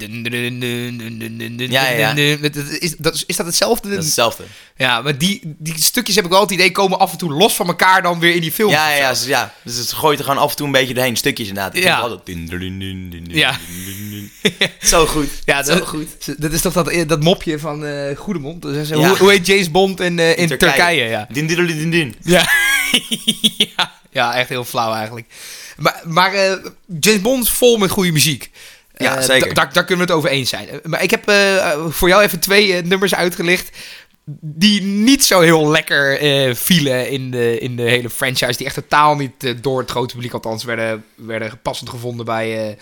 Speaker 2: Ja, ja,
Speaker 1: Dat Is, dat, is- is dat hetzelfde?
Speaker 2: Dat is hetzelfde.
Speaker 1: Ja, maar die, die stukjes heb ik wel het idee komen af en toe los van elkaar dan weer in die film.
Speaker 2: Ja, ja, ja, ze- ja. Dus het gooit er gewoon af en toe een beetje doorheen. Stukjes inderdaad. Ik
Speaker 1: Ja.
Speaker 2: vind altijd dun, dun, dun, dun, dun, dun,
Speaker 1: Ja.
Speaker 2: dun, dun,
Speaker 1: [laughs]
Speaker 2: dun. Zo goed.
Speaker 1: Ja,
Speaker 2: Zo
Speaker 1: dat,
Speaker 2: goed.
Speaker 1: dat is toch dat, dat mopje van eh Goedemond? Dus,
Speaker 2: Ja.
Speaker 1: hoe, hoe heet James Bond in, eh, in Turkije. ja.
Speaker 2: Dun, dun, dun, dun, dun.
Speaker 1: Ja. [laughs] ja. Ja, echt heel flauw eigenlijk. Maar, maar eh, James Bond is vol met goede muziek.
Speaker 2: Ja,
Speaker 1: Eh,
Speaker 2: zeker.
Speaker 1: da- daar- daar kunnen we het over eens zijn. Eh, Maar ik heb eh, eh, voor jou even twee eh, nummers uitgelicht... die niet zo heel lekker eh, vielen in de, in de hele franchise. Die echt totaal niet eh, door het grote publiek althans werden, werden passend gevonden bij... eh,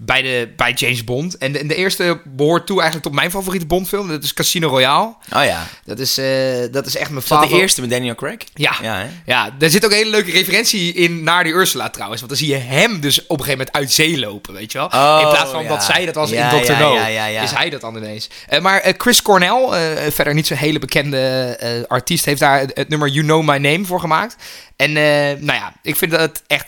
Speaker 1: bij, de, bij James Bond. En de, en de eerste behoort toe eigenlijk tot mijn favoriete Bondfilm. Dat is Casino Royale.
Speaker 2: Oh ja.
Speaker 1: Dat is, eh, dat is echt mijn
Speaker 2: Is dat
Speaker 1: favoriete.
Speaker 2: de eerste met Daniel Craig?
Speaker 1: Ja.
Speaker 2: Ja,
Speaker 1: Ja,
Speaker 2: hè?
Speaker 1: daar zit ook een hele leuke referentie in naar die Ursula trouwens. Want dan zie je hem dus op een gegeven moment uit zee lopen, weet je wel.
Speaker 2: Oh,
Speaker 1: in plaats van
Speaker 2: ja.
Speaker 1: dat zij dat was
Speaker 2: Ja,
Speaker 1: in Dr.
Speaker 2: ja,
Speaker 1: No,
Speaker 2: ja, ja, ja.
Speaker 1: is hij dat dan ineens. Eh, maar eh, Chris Cornell, eh, verder niet zo'n hele bekende eh, artiest, heeft daar het, het nummer You Know My Name voor gemaakt. En eh, nou ja, ik vind dat echt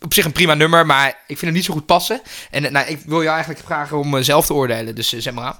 Speaker 1: op zich een prima nummer, maar ik vind het niet zo goed passen. En eh, nou, ik wil jou eigenlijk vragen om eh, zelf te oordelen, dus eh, zeg maar aan.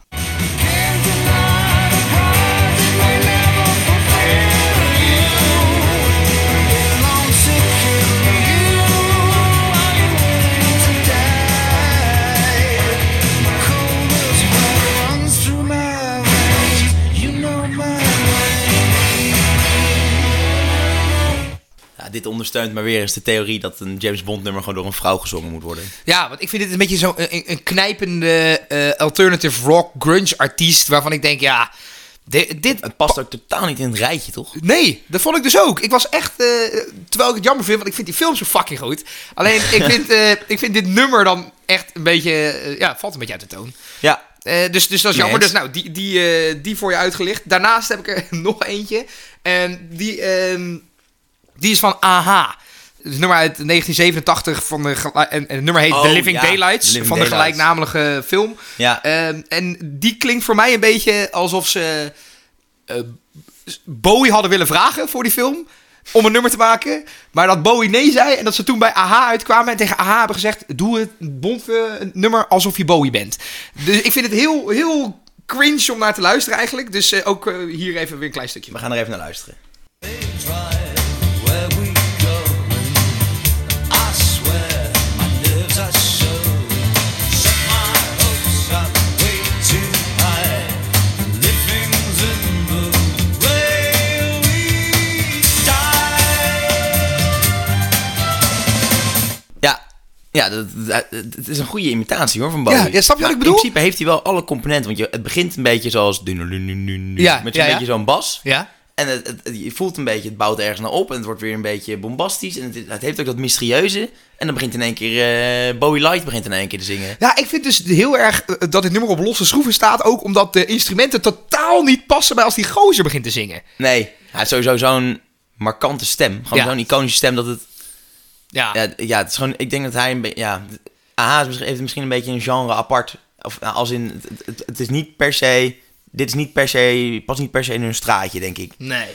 Speaker 2: Ja, dit ondersteunt maar weer eens de theorie dat een James Bond nummer gewoon door een vrouw gezongen moet worden.
Speaker 1: Ja, want ik vind dit een beetje zo'n een, een knijpende eh, alternative rock grunge artiest. Waarvan ik denk, ja, dit... dit
Speaker 2: Het past ook totaal niet in het rijtje, toch?
Speaker 1: Nee, dat vond ik dus ook. Ik was echt, eh, terwijl ik het jammer vind, want ik vind die film zo fucking goed. Alleen, ik vind, eh, ik vind dit nummer dan echt een beetje, eh, ja, valt een beetje uit de toon.
Speaker 2: Ja.
Speaker 1: Eh, dus, dus dat is
Speaker 2: Nee,
Speaker 1: jammer.
Speaker 2: het-
Speaker 1: Dus nou, die, die, eh, die voor je uitgelicht. Daarnaast heb ik er [laughs] nog eentje. En die, ehm, die is van AH. Het is een nummer uit 1987 van de gela- en, en het nummer heet
Speaker 2: Oh,
Speaker 1: The Living
Speaker 2: ja.
Speaker 1: Daylights
Speaker 2: Living
Speaker 1: van de
Speaker 2: Daylights.
Speaker 1: gelijknamige film.
Speaker 2: Ja.
Speaker 1: Ehm, en die klinkt voor mij een beetje alsof ze eh, Bowie hadden willen vragen voor die film om een nummer te maken, maar dat Bowie nee zei en dat ze toen bij AH uitkwamen en tegen AH hebben gezegd: doe het Bond, eh, nummer alsof je Bowie bent. Dus ik vind het heel, heel cringe om naar te luisteren eigenlijk. Dus eh, ook eh, hier even weer een klein stukje.
Speaker 2: We gaan er even naar luisteren. Ja. Ja, dat, dat- het is een goede imitatie hoor van Bowie.
Speaker 1: Ja, ja, snap je wat ik bedoel?
Speaker 2: In principe heeft hij wel alle componenten. Want je, het begint een beetje zoals... Ja, met zo'n
Speaker 1: Ja, ja, ja.
Speaker 2: beetje zo'n bas.
Speaker 1: Ja.
Speaker 2: En het, het- het- je voelt een beetje, het bouwt ergens naar op. En het wordt weer een beetje bombastisch. En het, het heeft ook dat mysterieuze. En dan begint in één keer... eh, Bowie Light begint in één keer te zingen.
Speaker 1: Ja, ik vind dus heel erg eh, dat dit nummer op losse schroeven staat. Ook omdat de instrumenten totaal niet passen bij als die gozer begint te zingen.
Speaker 2: Nee, hij heeft sowieso zo'n markante stem. Gewoon
Speaker 1: Ja.
Speaker 2: zo'n iconische stem dat het...
Speaker 1: Ja,
Speaker 2: Ja, d- ja, het is gewoon... Ik denk dat hij een beetje... Ja, AH is misschien- heeft misschien een beetje een genre apart. Of nou, als in... Het, het, het is niet per se... Dit is niet per se... Past niet per se in hun straatje, denk ik.
Speaker 1: nee.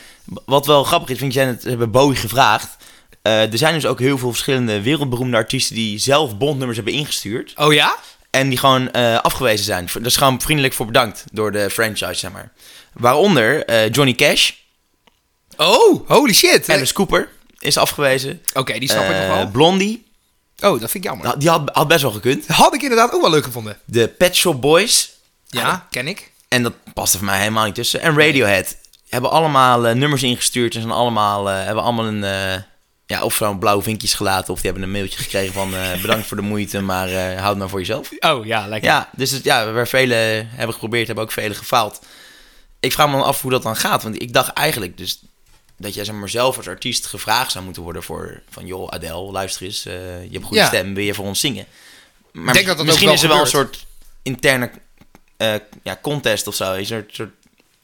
Speaker 2: Wat wel grappig is, vind je, ze hebben Bowie gevraagd. Eh, er zijn dus ook heel veel verschillende wereldberoemde artiesten die zelf bondnummers hebben ingestuurd.
Speaker 1: Oh ja?
Speaker 2: En die gewoon eh, afgewezen zijn. Dat is gewoon vriendelijk voor bedankt door de franchise, zeg maar. Waaronder eh, Johnny Cash,
Speaker 1: Oh, holy shit. Eh,
Speaker 2: Alice Cooper is afgewezen.
Speaker 1: Oké, die snap ik
Speaker 2: Eh,
Speaker 1: nog wel.
Speaker 2: Blondie,
Speaker 1: Oh, dat vind ik jammer.
Speaker 2: nou, die had, had best wel gekund.
Speaker 1: Had ik inderdaad ook wel leuk gevonden.
Speaker 2: De Pet Shop Boys,
Speaker 1: Ja, ken ik.
Speaker 2: en dat past er voor mij helemaal niet tussen. En Radiohead hebben allemaal eh, nummers ingestuurd en zijn allemaal, eh, hebben allemaal een... eh, ja, of zo'n blauw vinkjes gelaten. Of die hebben een mailtje gekregen van eh, bedankt voor de moeite, maar eh, houd het nou voor jezelf.
Speaker 1: Oh ja, lekker.
Speaker 2: Ja, dus het, ja, waar velen hebben geprobeerd, hebben ook velen gefaald. Ik vraag me dan af hoe dat dan gaat. Want ik dacht eigenlijk dus dat jij zeg maar, zelf als artiest gevraagd zou moeten worden voor... Van joh, Adele, luister eens, eh, je hebt een goede
Speaker 1: Ja.
Speaker 2: stem, wil je voor ons zingen? Maar
Speaker 1: denk dat dat ook
Speaker 2: misschien
Speaker 1: wel
Speaker 2: is er wel een
Speaker 1: gebeurt.
Speaker 2: soort interne eh, ja, contest of zo. Is er een soort...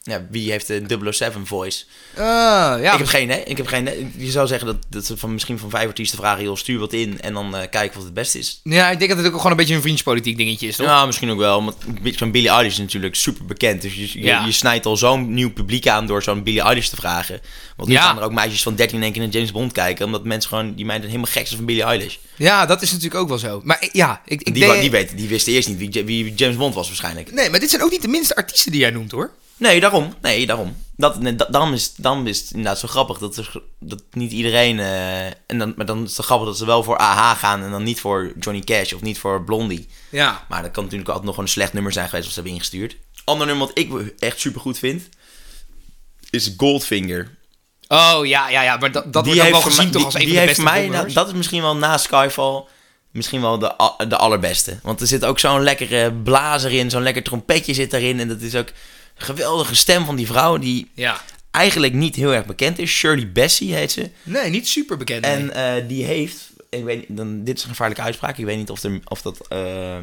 Speaker 2: Ja, wie heeft de 007 voice?
Speaker 1: Ah, ja.
Speaker 2: ik heb geen idee. Ik heb geen idee. Je zou zeggen dat, dat ze van misschien van vijf artiesten vragen... joh, stuur wat in en dan eh, kijken wat het beste is.
Speaker 1: ja, ik denk dat het ook gewoon een beetje een vriendspolitiek dingetje is, toch?
Speaker 2: Ja, misschien ook wel. Want zo'n Billie Eilish is natuurlijk super bekend. Dus je, je,
Speaker 1: Ja.
Speaker 2: je snijdt al zo'n nieuw publiek aan door zo'n Billie Eilish te vragen. Want nu
Speaker 1: Ja.
Speaker 2: gaan er ook meisjes van 13 in één keer naar James Bond kijken. Omdat mensen gewoon, die meiden helemaal gek zijn van Billie Eilish.
Speaker 1: Ja, dat is natuurlijk ook wel zo. Maar ik- ja, ik, ik
Speaker 2: Die,
Speaker 1: denk-
Speaker 2: wa- die, weten, die wisten eerst niet wie, Ja- wie James Bond was waarschijnlijk.
Speaker 1: Nee, maar dit zijn ook niet de minste artiesten die jij noemt, hoor.
Speaker 2: Nee, daarom. Nee, daarom. Dat, nee, da- daarom, is, daarom is het inderdaad zo grappig dat, er, dat niet iedereen... eh, en dan, maar dan is het grappig dat ze wel voor AH gaan en dan niet voor Johnny Cash of niet voor Blondie.
Speaker 1: Ja.
Speaker 2: Maar dat kan natuurlijk altijd nog gewoon een slecht nummer zijn geweest als ze hebben ingestuurd. Ander nummer wat ik echt super goed vind is Goldfinger.
Speaker 1: Oh ja, ja, ja. Maar dat, dat wordt ook wel
Speaker 2: voor
Speaker 1: gezien toch
Speaker 2: mij- die-
Speaker 1: als een
Speaker 2: die
Speaker 1: van de
Speaker 2: heeft
Speaker 1: beste
Speaker 2: voor mij,
Speaker 1: nummers?
Speaker 2: nou, Dat is misschien wel na Skyfall misschien wel de, a- de allerbeste. Want er zit ook zo'n lekkere blazer in, zo'n lekker trompetje zit daarin. En dat is ook een geweldige stem van die vrouw die
Speaker 1: Ja.
Speaker 2: eigenlijk niet heel erg bekend is. Shirley Bassey heet ze.
Speaker 1: Nee, niet super bekend.
Speaker 2: En eh, die heeft, ik weet, niet, dan, dit is een gevaarlijke uitspraak. Ik weet niet of er, of, dat, eh,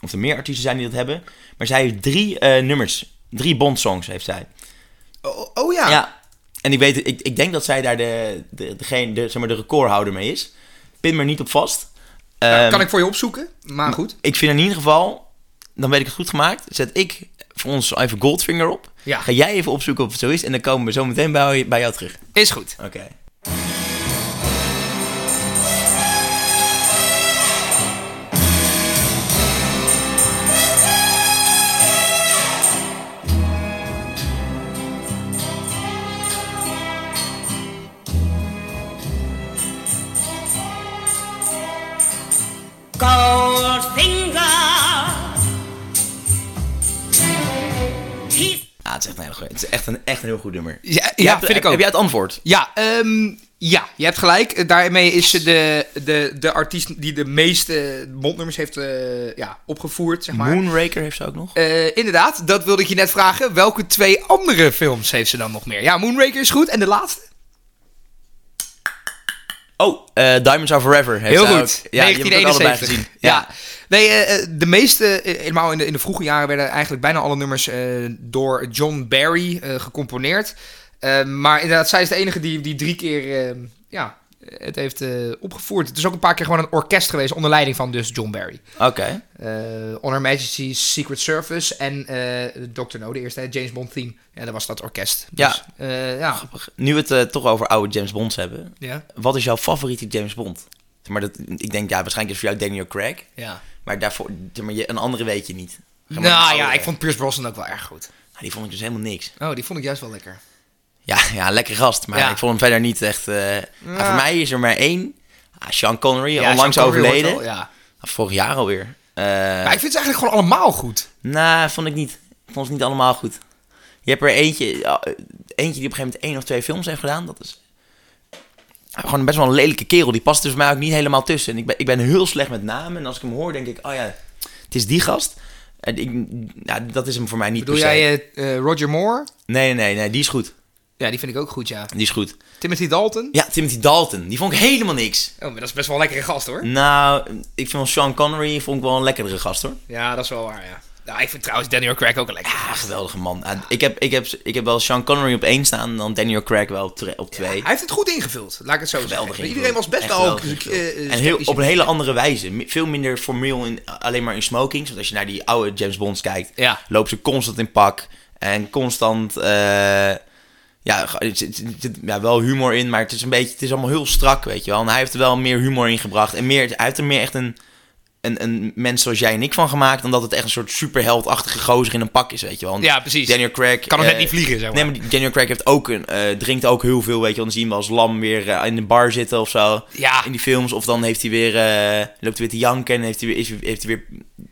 Speaker 2: of er meer artiesten zijn die dat hebben. Maar zij heeft drie eh, nummers. Drie Bond-songs heeft zij.
Speaker 1: Oh, oh ja.
Speaker 2: Ja. En ik, weet, ik, ik denk dat zij daar de, de, degene, de, zeg maar, de recordhouder mee is. Pin me er niet op vast. Ehm,
Speaker 1: Nou, kan ik voor je opzoeken, maar goed.
Speaker 2: ik vind in ieder geval, dan weet ik het goed gemaakt. Zet ik voor ons even Goldfinger op.
Speaker 1: Ja.
Speaker 2: Ga jij even opzoeken of het zo is. En dan komen we zo meteen bij, bij jou terug.
Speaker 1: Is goed.
Speaker 2: Oké. Ja, het is echt een, hele goeie- het is echt een, echt een heel goed nummer.
Speaker 1: Ja, ja,
Speaker 2: Jij hebt-
Speaker 1: vind ik
Speaker 2: heb-
Speaker 1: ook.
Speaker 2: Heb jij het antwoord?
Speaker 1: Ja, ehm, ja, je hebt gelijk. Eh, Daarmee is ze de, de, de artiest die de meeste bondnummers heeft eh, ja, opgevoerd, zeg maar.
Speaker 2: Moonraker heeft ze ook nog.
Speaker 1: Eh, inderdaad, dat wilde ik je net vragen. Welke twee andere films heeft ze dan nog meer? Ja, Moonraker is goed. En de laatste?
Speaker 2: Oh, eh, Diamonds Are Forever heeft
Speaker 1: Heel
Speaker 2: zij
Speaker 1: goed.
Speaker 2: ook. Ja, die heb ik ook allebei
Speaker 1: 1971.
Speaker 2: gezien.
Speaker 1: Ja.
Speaker 2: Ja.
Speaker 1: Nee, eh, eh, de meeste, eh, helemaal in de, in de vroege jaren, werden eigenlijk bijna alle nummers eh, door John Barry eh, gecomponeerd. Eh, maar inderdaad, zij is de enige die, die drie keer eh, ja, het heeft eh, opgevoerd. Het is ook een paar keer gewoon een orkest geweest onder leiding van dus John Barry.
Speaker 2: Oké.
Speaker 1: Eh, On Her Majesty's Secret Service en eh Dr. No, de eerste hè, James Bond theme. Ja, dat was dat orkest.
Speaker 2: Ja.
Speaker 1: Dus, eh, ja.
Speaker 2: Nu we het eh, toch over oude James Bonds hebben.
Speaker 1: Ja.
Speaker 2: Wat is jouw favoriete James Bond? Zeg Maar dat, ik denk, ja, waarschijnlijk is voor jou Daniel Craig.
Speaker 1: ja.
Speaker 2: Maar daarvoor, zeg maar, je, een andere weet je niet. Zeg maar, die
Speaker 1: Nou ja,
Speaker 2: oude-
Speaker 1: ik vond Pierce Brosnan ook wel erg goed.
Speaker 2: Nou, die vond ik dus helemaal niks.
Speaker 1: Oh, die vond ik juist wel lekker.
Speaker 2: Ja, ja lekker gast. Maar
Speaker 1: Ja.
Speaker 2: ik vond hem verder niet echt... eh, nou, voor mij is er maar één. Ah, Sean Connery,
Speaker 1: Ja,
Speaker 2: onlangs
Speaker 1: Sean Connery
Speaker 2: overleden.
Speaker 1: hoort wel, ja.
Speaker 2: Vorig jaar alweer. Eh
Speaker 1: Maar ik vind ze eigenlijk gewoon allemaal goed.
Speaker 2: Nou, vond ik niet. Ik vond ze niet allemaal goed. eh, Je hebt er eentje, ja, eentje die op een gegeven moment één of twee films heeft gedaan. Dat is. Hij gewoon best wel een lelijke kerel. Die past er voor mij ook niet helemaal tussen. En ik ben, ik ben heel slecht met namen. En als ik hem hoor, denk ik, oh ja, het is die gast. En ik, ja, dat is hem voor mij niet
Speaker 1: Bedoel
Speaker 2: per se.
Speaker 1: jij eh, eh, Roger Moore?
Speaker 2: Nee, nee, nee, die is goed.
Speaker 1: Ja, die vind ik ook goed, ja.
Speaker 2: Die is goed.
Speaker 1: Timothy Dalton?
Speaker 2: Ja, Timothy Dalton. Die vond ik helemaal niks.
Speaker 1: Oh, maar dat is best wel een lekkere gast, hoor.
Speaker 2: Nou, ik vind Sean Connery vond ik wel een lekkerdere gast hoor.
Speaker 1: Ja, dat is wel waar, ja. Nou, ik vind trouwens Daniel Craig ook een lekkere
Speaker 2: Ah,
Speaker 1: gast.
Speaker 2: geweldige man. Ah, ik, heb, ik, heb, ik heb wel Sean Connery op één staan en dan Daniel Craig wel op, tre- op twee.
Speaker 1: Hij heeft het goed ingevuld, laat ik het zo
Speaker 2: Geweldig
Speaker 1: zeggen.
Speaker 2: ingevuld.
Speaker 1: Iedereen was best
Speaker 2: Echt
Speaker 1: wel...
Speaker 2: geweldig
Speaker 1: eh, eh,
Speaker 2: ingevuld. en heel,
Speaker 1: sceptisch
Speaker 2: op een
Speaker 1: in-
Speaker 2: hele andere wijze. Mi- Veel minder formeel, in, alleen maar in smokings. Want als je naar die oude James Bonds kijkt,
Speaker 1: Ja.
Speaker 2: loopt ze constant in pak. En constant, eh, ja, ge- er zit- er zit, ja, wel humor in. Maar het is een beetje, het is allemaal heel strak, weet je wel. En hij heeft er wel meer humor in gebracht. En meer, hij heeft er meer echt een, een, een mens zoals jij en ik van gemaakt. Dan dat het echt een soort superheldachtige gozer in een pak is, weet je wel. Want
Speaker 1: Ja, precies.
Speaker 2: Daniel Craig...
Speaker 1: Kan nog net
Speaker 2: eh,
Speaker 1: niet vliegen, zeg maar.
Speaker 2: Nee, maar die- Daniel Craig heeft ook een, eh, drinkt ook heel veel, weet je. wel. Dan zien we hem als lam weer eh, in de bar zitten of zo.
Speaker 1: Ja.
Speaker 2: In die films. Of dan heeft hij weer, eh, loopt hij weer te janken en heeft hij weer, is, heeft hij weer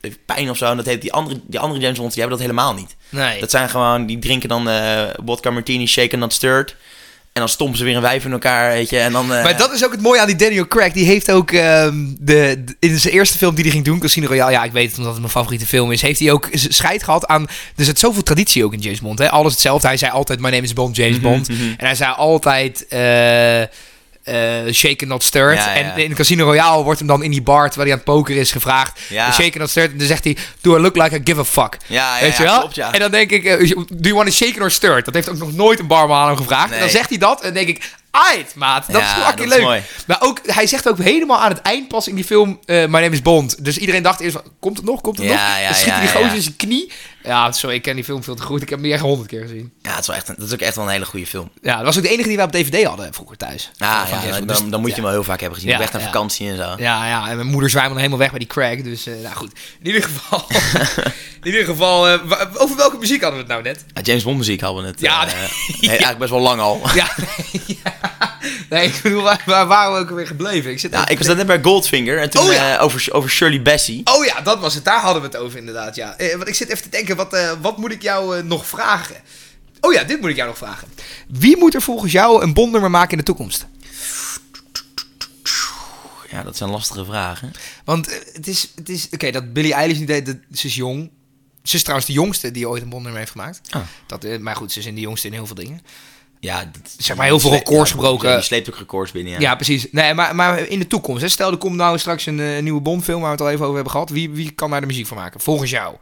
Speaker 2: heeft pijn of zo. En dat heeft die andere, die andere James Bonds, die hebben dat helemaal niet.
Speaker 1: Nee.
Speaker 2: Dat zijn gewoon, die drinken dan eh vodka martini, shaken dat stirred. En dan stompen ze weer een wijf in elkaar, weet je. En dan, eh,
Speaker 1: Maar dat is ook het mooie aan die Daniel Craig. Die heeft ook ehm, de, de- in zijn eerste film die hij ging doen, Casino Royale. Ja, ik weet het omdat het mijn favoriete film is. Heeft hij ook z- scheid gehad aan. Er zit zoveel traditie ook in James Bond. Hè? Alles hetzelfde. Hij zei altijd: My name is Bond, James
Speaker 2: Mhm,
Speaker 1: Bond. En hij zei altijd. eh eh shake and not stirred.
Speaker 2: Ja, ja.
Speaker 1: En in Casino Royale wordt hem dan in die bar, terwijl hij aan het poker is, gevraagd.
Speaker 2: Ja.
Speaker 1: Shake and not stirred. En dan zegt hij, do I look like I give a fuck?
Speaker 2: Ja, ja,
Speaker 1: Weet
Speaker 2: ja,
Speaker 1: je wel?
Speaker 2: klopt, ja.
Speaker 1: En dan denk ik, eh, do you want a shaken or stirred? Dat heeft ook nog nooit een barman aan hem gevraagd. En dan
Speaker 2: Nee.
Speaker 1: zegt hij dat en dan denk ik, aight maat. Dat
Speaker 2: Ja,
Speaker 1: is fucking
Speaker 2: dat is
Speaker 1: leuk.
Speaker 2: mooi.
Speaker 1: Maar ook, hij zegt ook helemaal aan het eind pas in die film... eh My name is Bond. Dus iedereen dacht eerst van, komt het nog, komt het
Speaker 2: Ja,
Speaker 1: nog?
Speaker 2: ja,
Speaker 1: dan schiet hij die
Speaker 2: ja, ja,
Speaker 1: gozer
Speaker 2: ja.
Speaker 1: in zijn knie. Ja, sorry, ik ken die film veel te goed. Ik heb hem niet echt honderd keer gezien.
Speaker 2: ja, het is wel echt, een- dat is ook echt wel een hele goede film.
Speaker 1: Ja, dat was ook de enige die wij op DVD hadden vroeger thuis.
Speaker 2: Ah,
Speaker 1: Van
Speaker 2: ja,
Speaker 1: James Bond. Dus-
Speaker 2: dan, dan moet je
Speaker 1: ja.
Speaker 2: hem wel heel vaak hebben gezien.
Speaker 1: Ja,
Speaker 2: Weg naar
Speaker 1: ja.
Speaker 2: vakantie en zo.
Speaker 1: Ja, ja, en mijn moeder zwijmelde helemaal weg bij die crack. Dus, eh, nou goed. In ieder
Speaker 2: [laughs]
Speaker 1: geval... in ieder geval... eh, wa- over welke muziek hadden we het nou net?
Speaker 2: Ja, James Bond muziek hadden we het.
Speaker 1: Ja, [laughs]
Speaker 2: eh,
Speaker 1: nee.
Speaker 2: eh, Eigenlijk best wel lang al.
Speaker 1: Ja, [laughs] nee, ja. nee, ik bedoel, waar, waar waren we ook weer gebleven? Ik zit
Speaker 2: Ja,
Speaker 1: even
Speaker 2: ik
Speaker 1: te
Speaker 2: was net bij Goldfinger en toen
Speaker 1: Oh, ja.
Speaker 2: eh, over, over Shirley Bassey.
Speaker 1: Oh ja, dat was het. Daar hadden we het over inderdaad, ja. Eh, want ik zit even te denken, wat, eh, wat moet ik jou eh, nog vragen? Oh ja, dit moet ik jou nog vragen. Wie moet er volgens jou een bondnummer maken in de toekomst?
Speaker 2: Oh Ja, dat zijn lastige vragen.
Speaker 1: Want eh, het is... Het is Oké, dat Billie Eilish niet deed, dat, ze is jong. Ze is trouwens de jongste die ooit een bondnummer heeft gemaakt.
Speaker 2: Ah.
Speaker 1: Dat, eh, maar goed, ze is in de jongste in heel veel dingen.
Speaker 2: Ja, dat-
Speaker 1: Zeg maar heel veel
Speaker 2: die
Speaker 1: records
Speaker 2: ja,
Speaker 1: gebroken.
Speaker 2: Die sleept ook records binnen, ja.
Speaker 1: Ja, precies. Nee, maar, maar in de toekomst. Hè, stel, er komt nou straks een eh, nieuwe Bondfilm waar we het al even over hebben gehad. Wie, wie kan daar de muziek van maken? Volgens jou.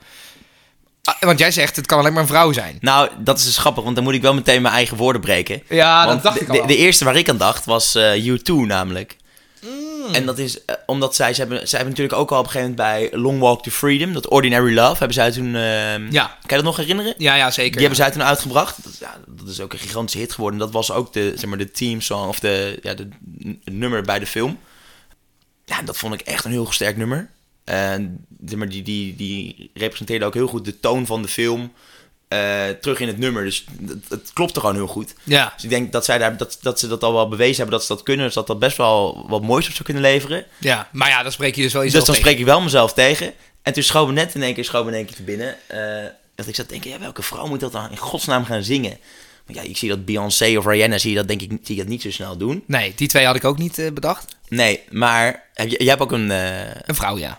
Speaker 1: Ah, want jij zegt, het kan alleen maar een vrouw zijn.
Speaker 2: Nou, dat is dus grappig, want dan moet ik wel meteen mijn eigen woorden breken.
Speaker 1: Ja, dat
Speaker 2: Want
Speaker 1: dacht
Speaker 2: de,
Speaker 1: ik al
Speaker 2: De,
Speaker 1: wel.
Speaker 2: de eerste waar ik aan dacht was eh, U2 namelijk.
Speaker 1: Mm.
Speaker 2: En dat is eh, omdat zij, ze hebben, zij hebben natuurlijk ook al op een gegeven moment bij Long Walk to Freedom, dat Ordinary Love, hebben zij toen... eh,
Speaker 1: Ja.
Speaker 2: Kan je dat nog herinneren?
Speaker 1: Ja, ja, zeker.
Speaker 2: Die hebben zij toen uitgebracht. Dat, ja, dat is ook een gigantische hit geworden. Dat was ook de, zeg maar, de teamsong of de, ja, de n- nummer bij de film. Ja, dat vond ik echt een heel sterk nummer. En, zeg maar, die, die, die representeerde ook heel goed de toon van de film eh, terug in het nummer. Dus dat- het klopte gewoon heel goed.
Speaker 1: Ja.
Speaker 2: Dus ik denk dat, zij daar, dat, dat ze dat al wel bewezen hebben dat ze dat kunnen. Dus dat dat best wel wat moois op zou kunnen leveren.
Speaker 1: Ja, maar ja, dan spreek je dus wel iets
Speaker 2: Dus dan spreek ik wel mezelf tegen. En toen schoot me net in één keer, schoot me in één keer te binnen. eh, dat ik zat te denken, ja, welke vrouw moet dat dan in godsnaam gaan zingen? Want ja, ik zie dat Beyoncé of Rihanna, zie je dat denk ik zie je dat niet zo snel doen.
Speaker 1: Nee, die twee had ik ook niet eh, bedacht.
Speaker 2: Nee, maar heb je, jij hebt ook een... eh,
Speaker 1: Een vrouw, ja.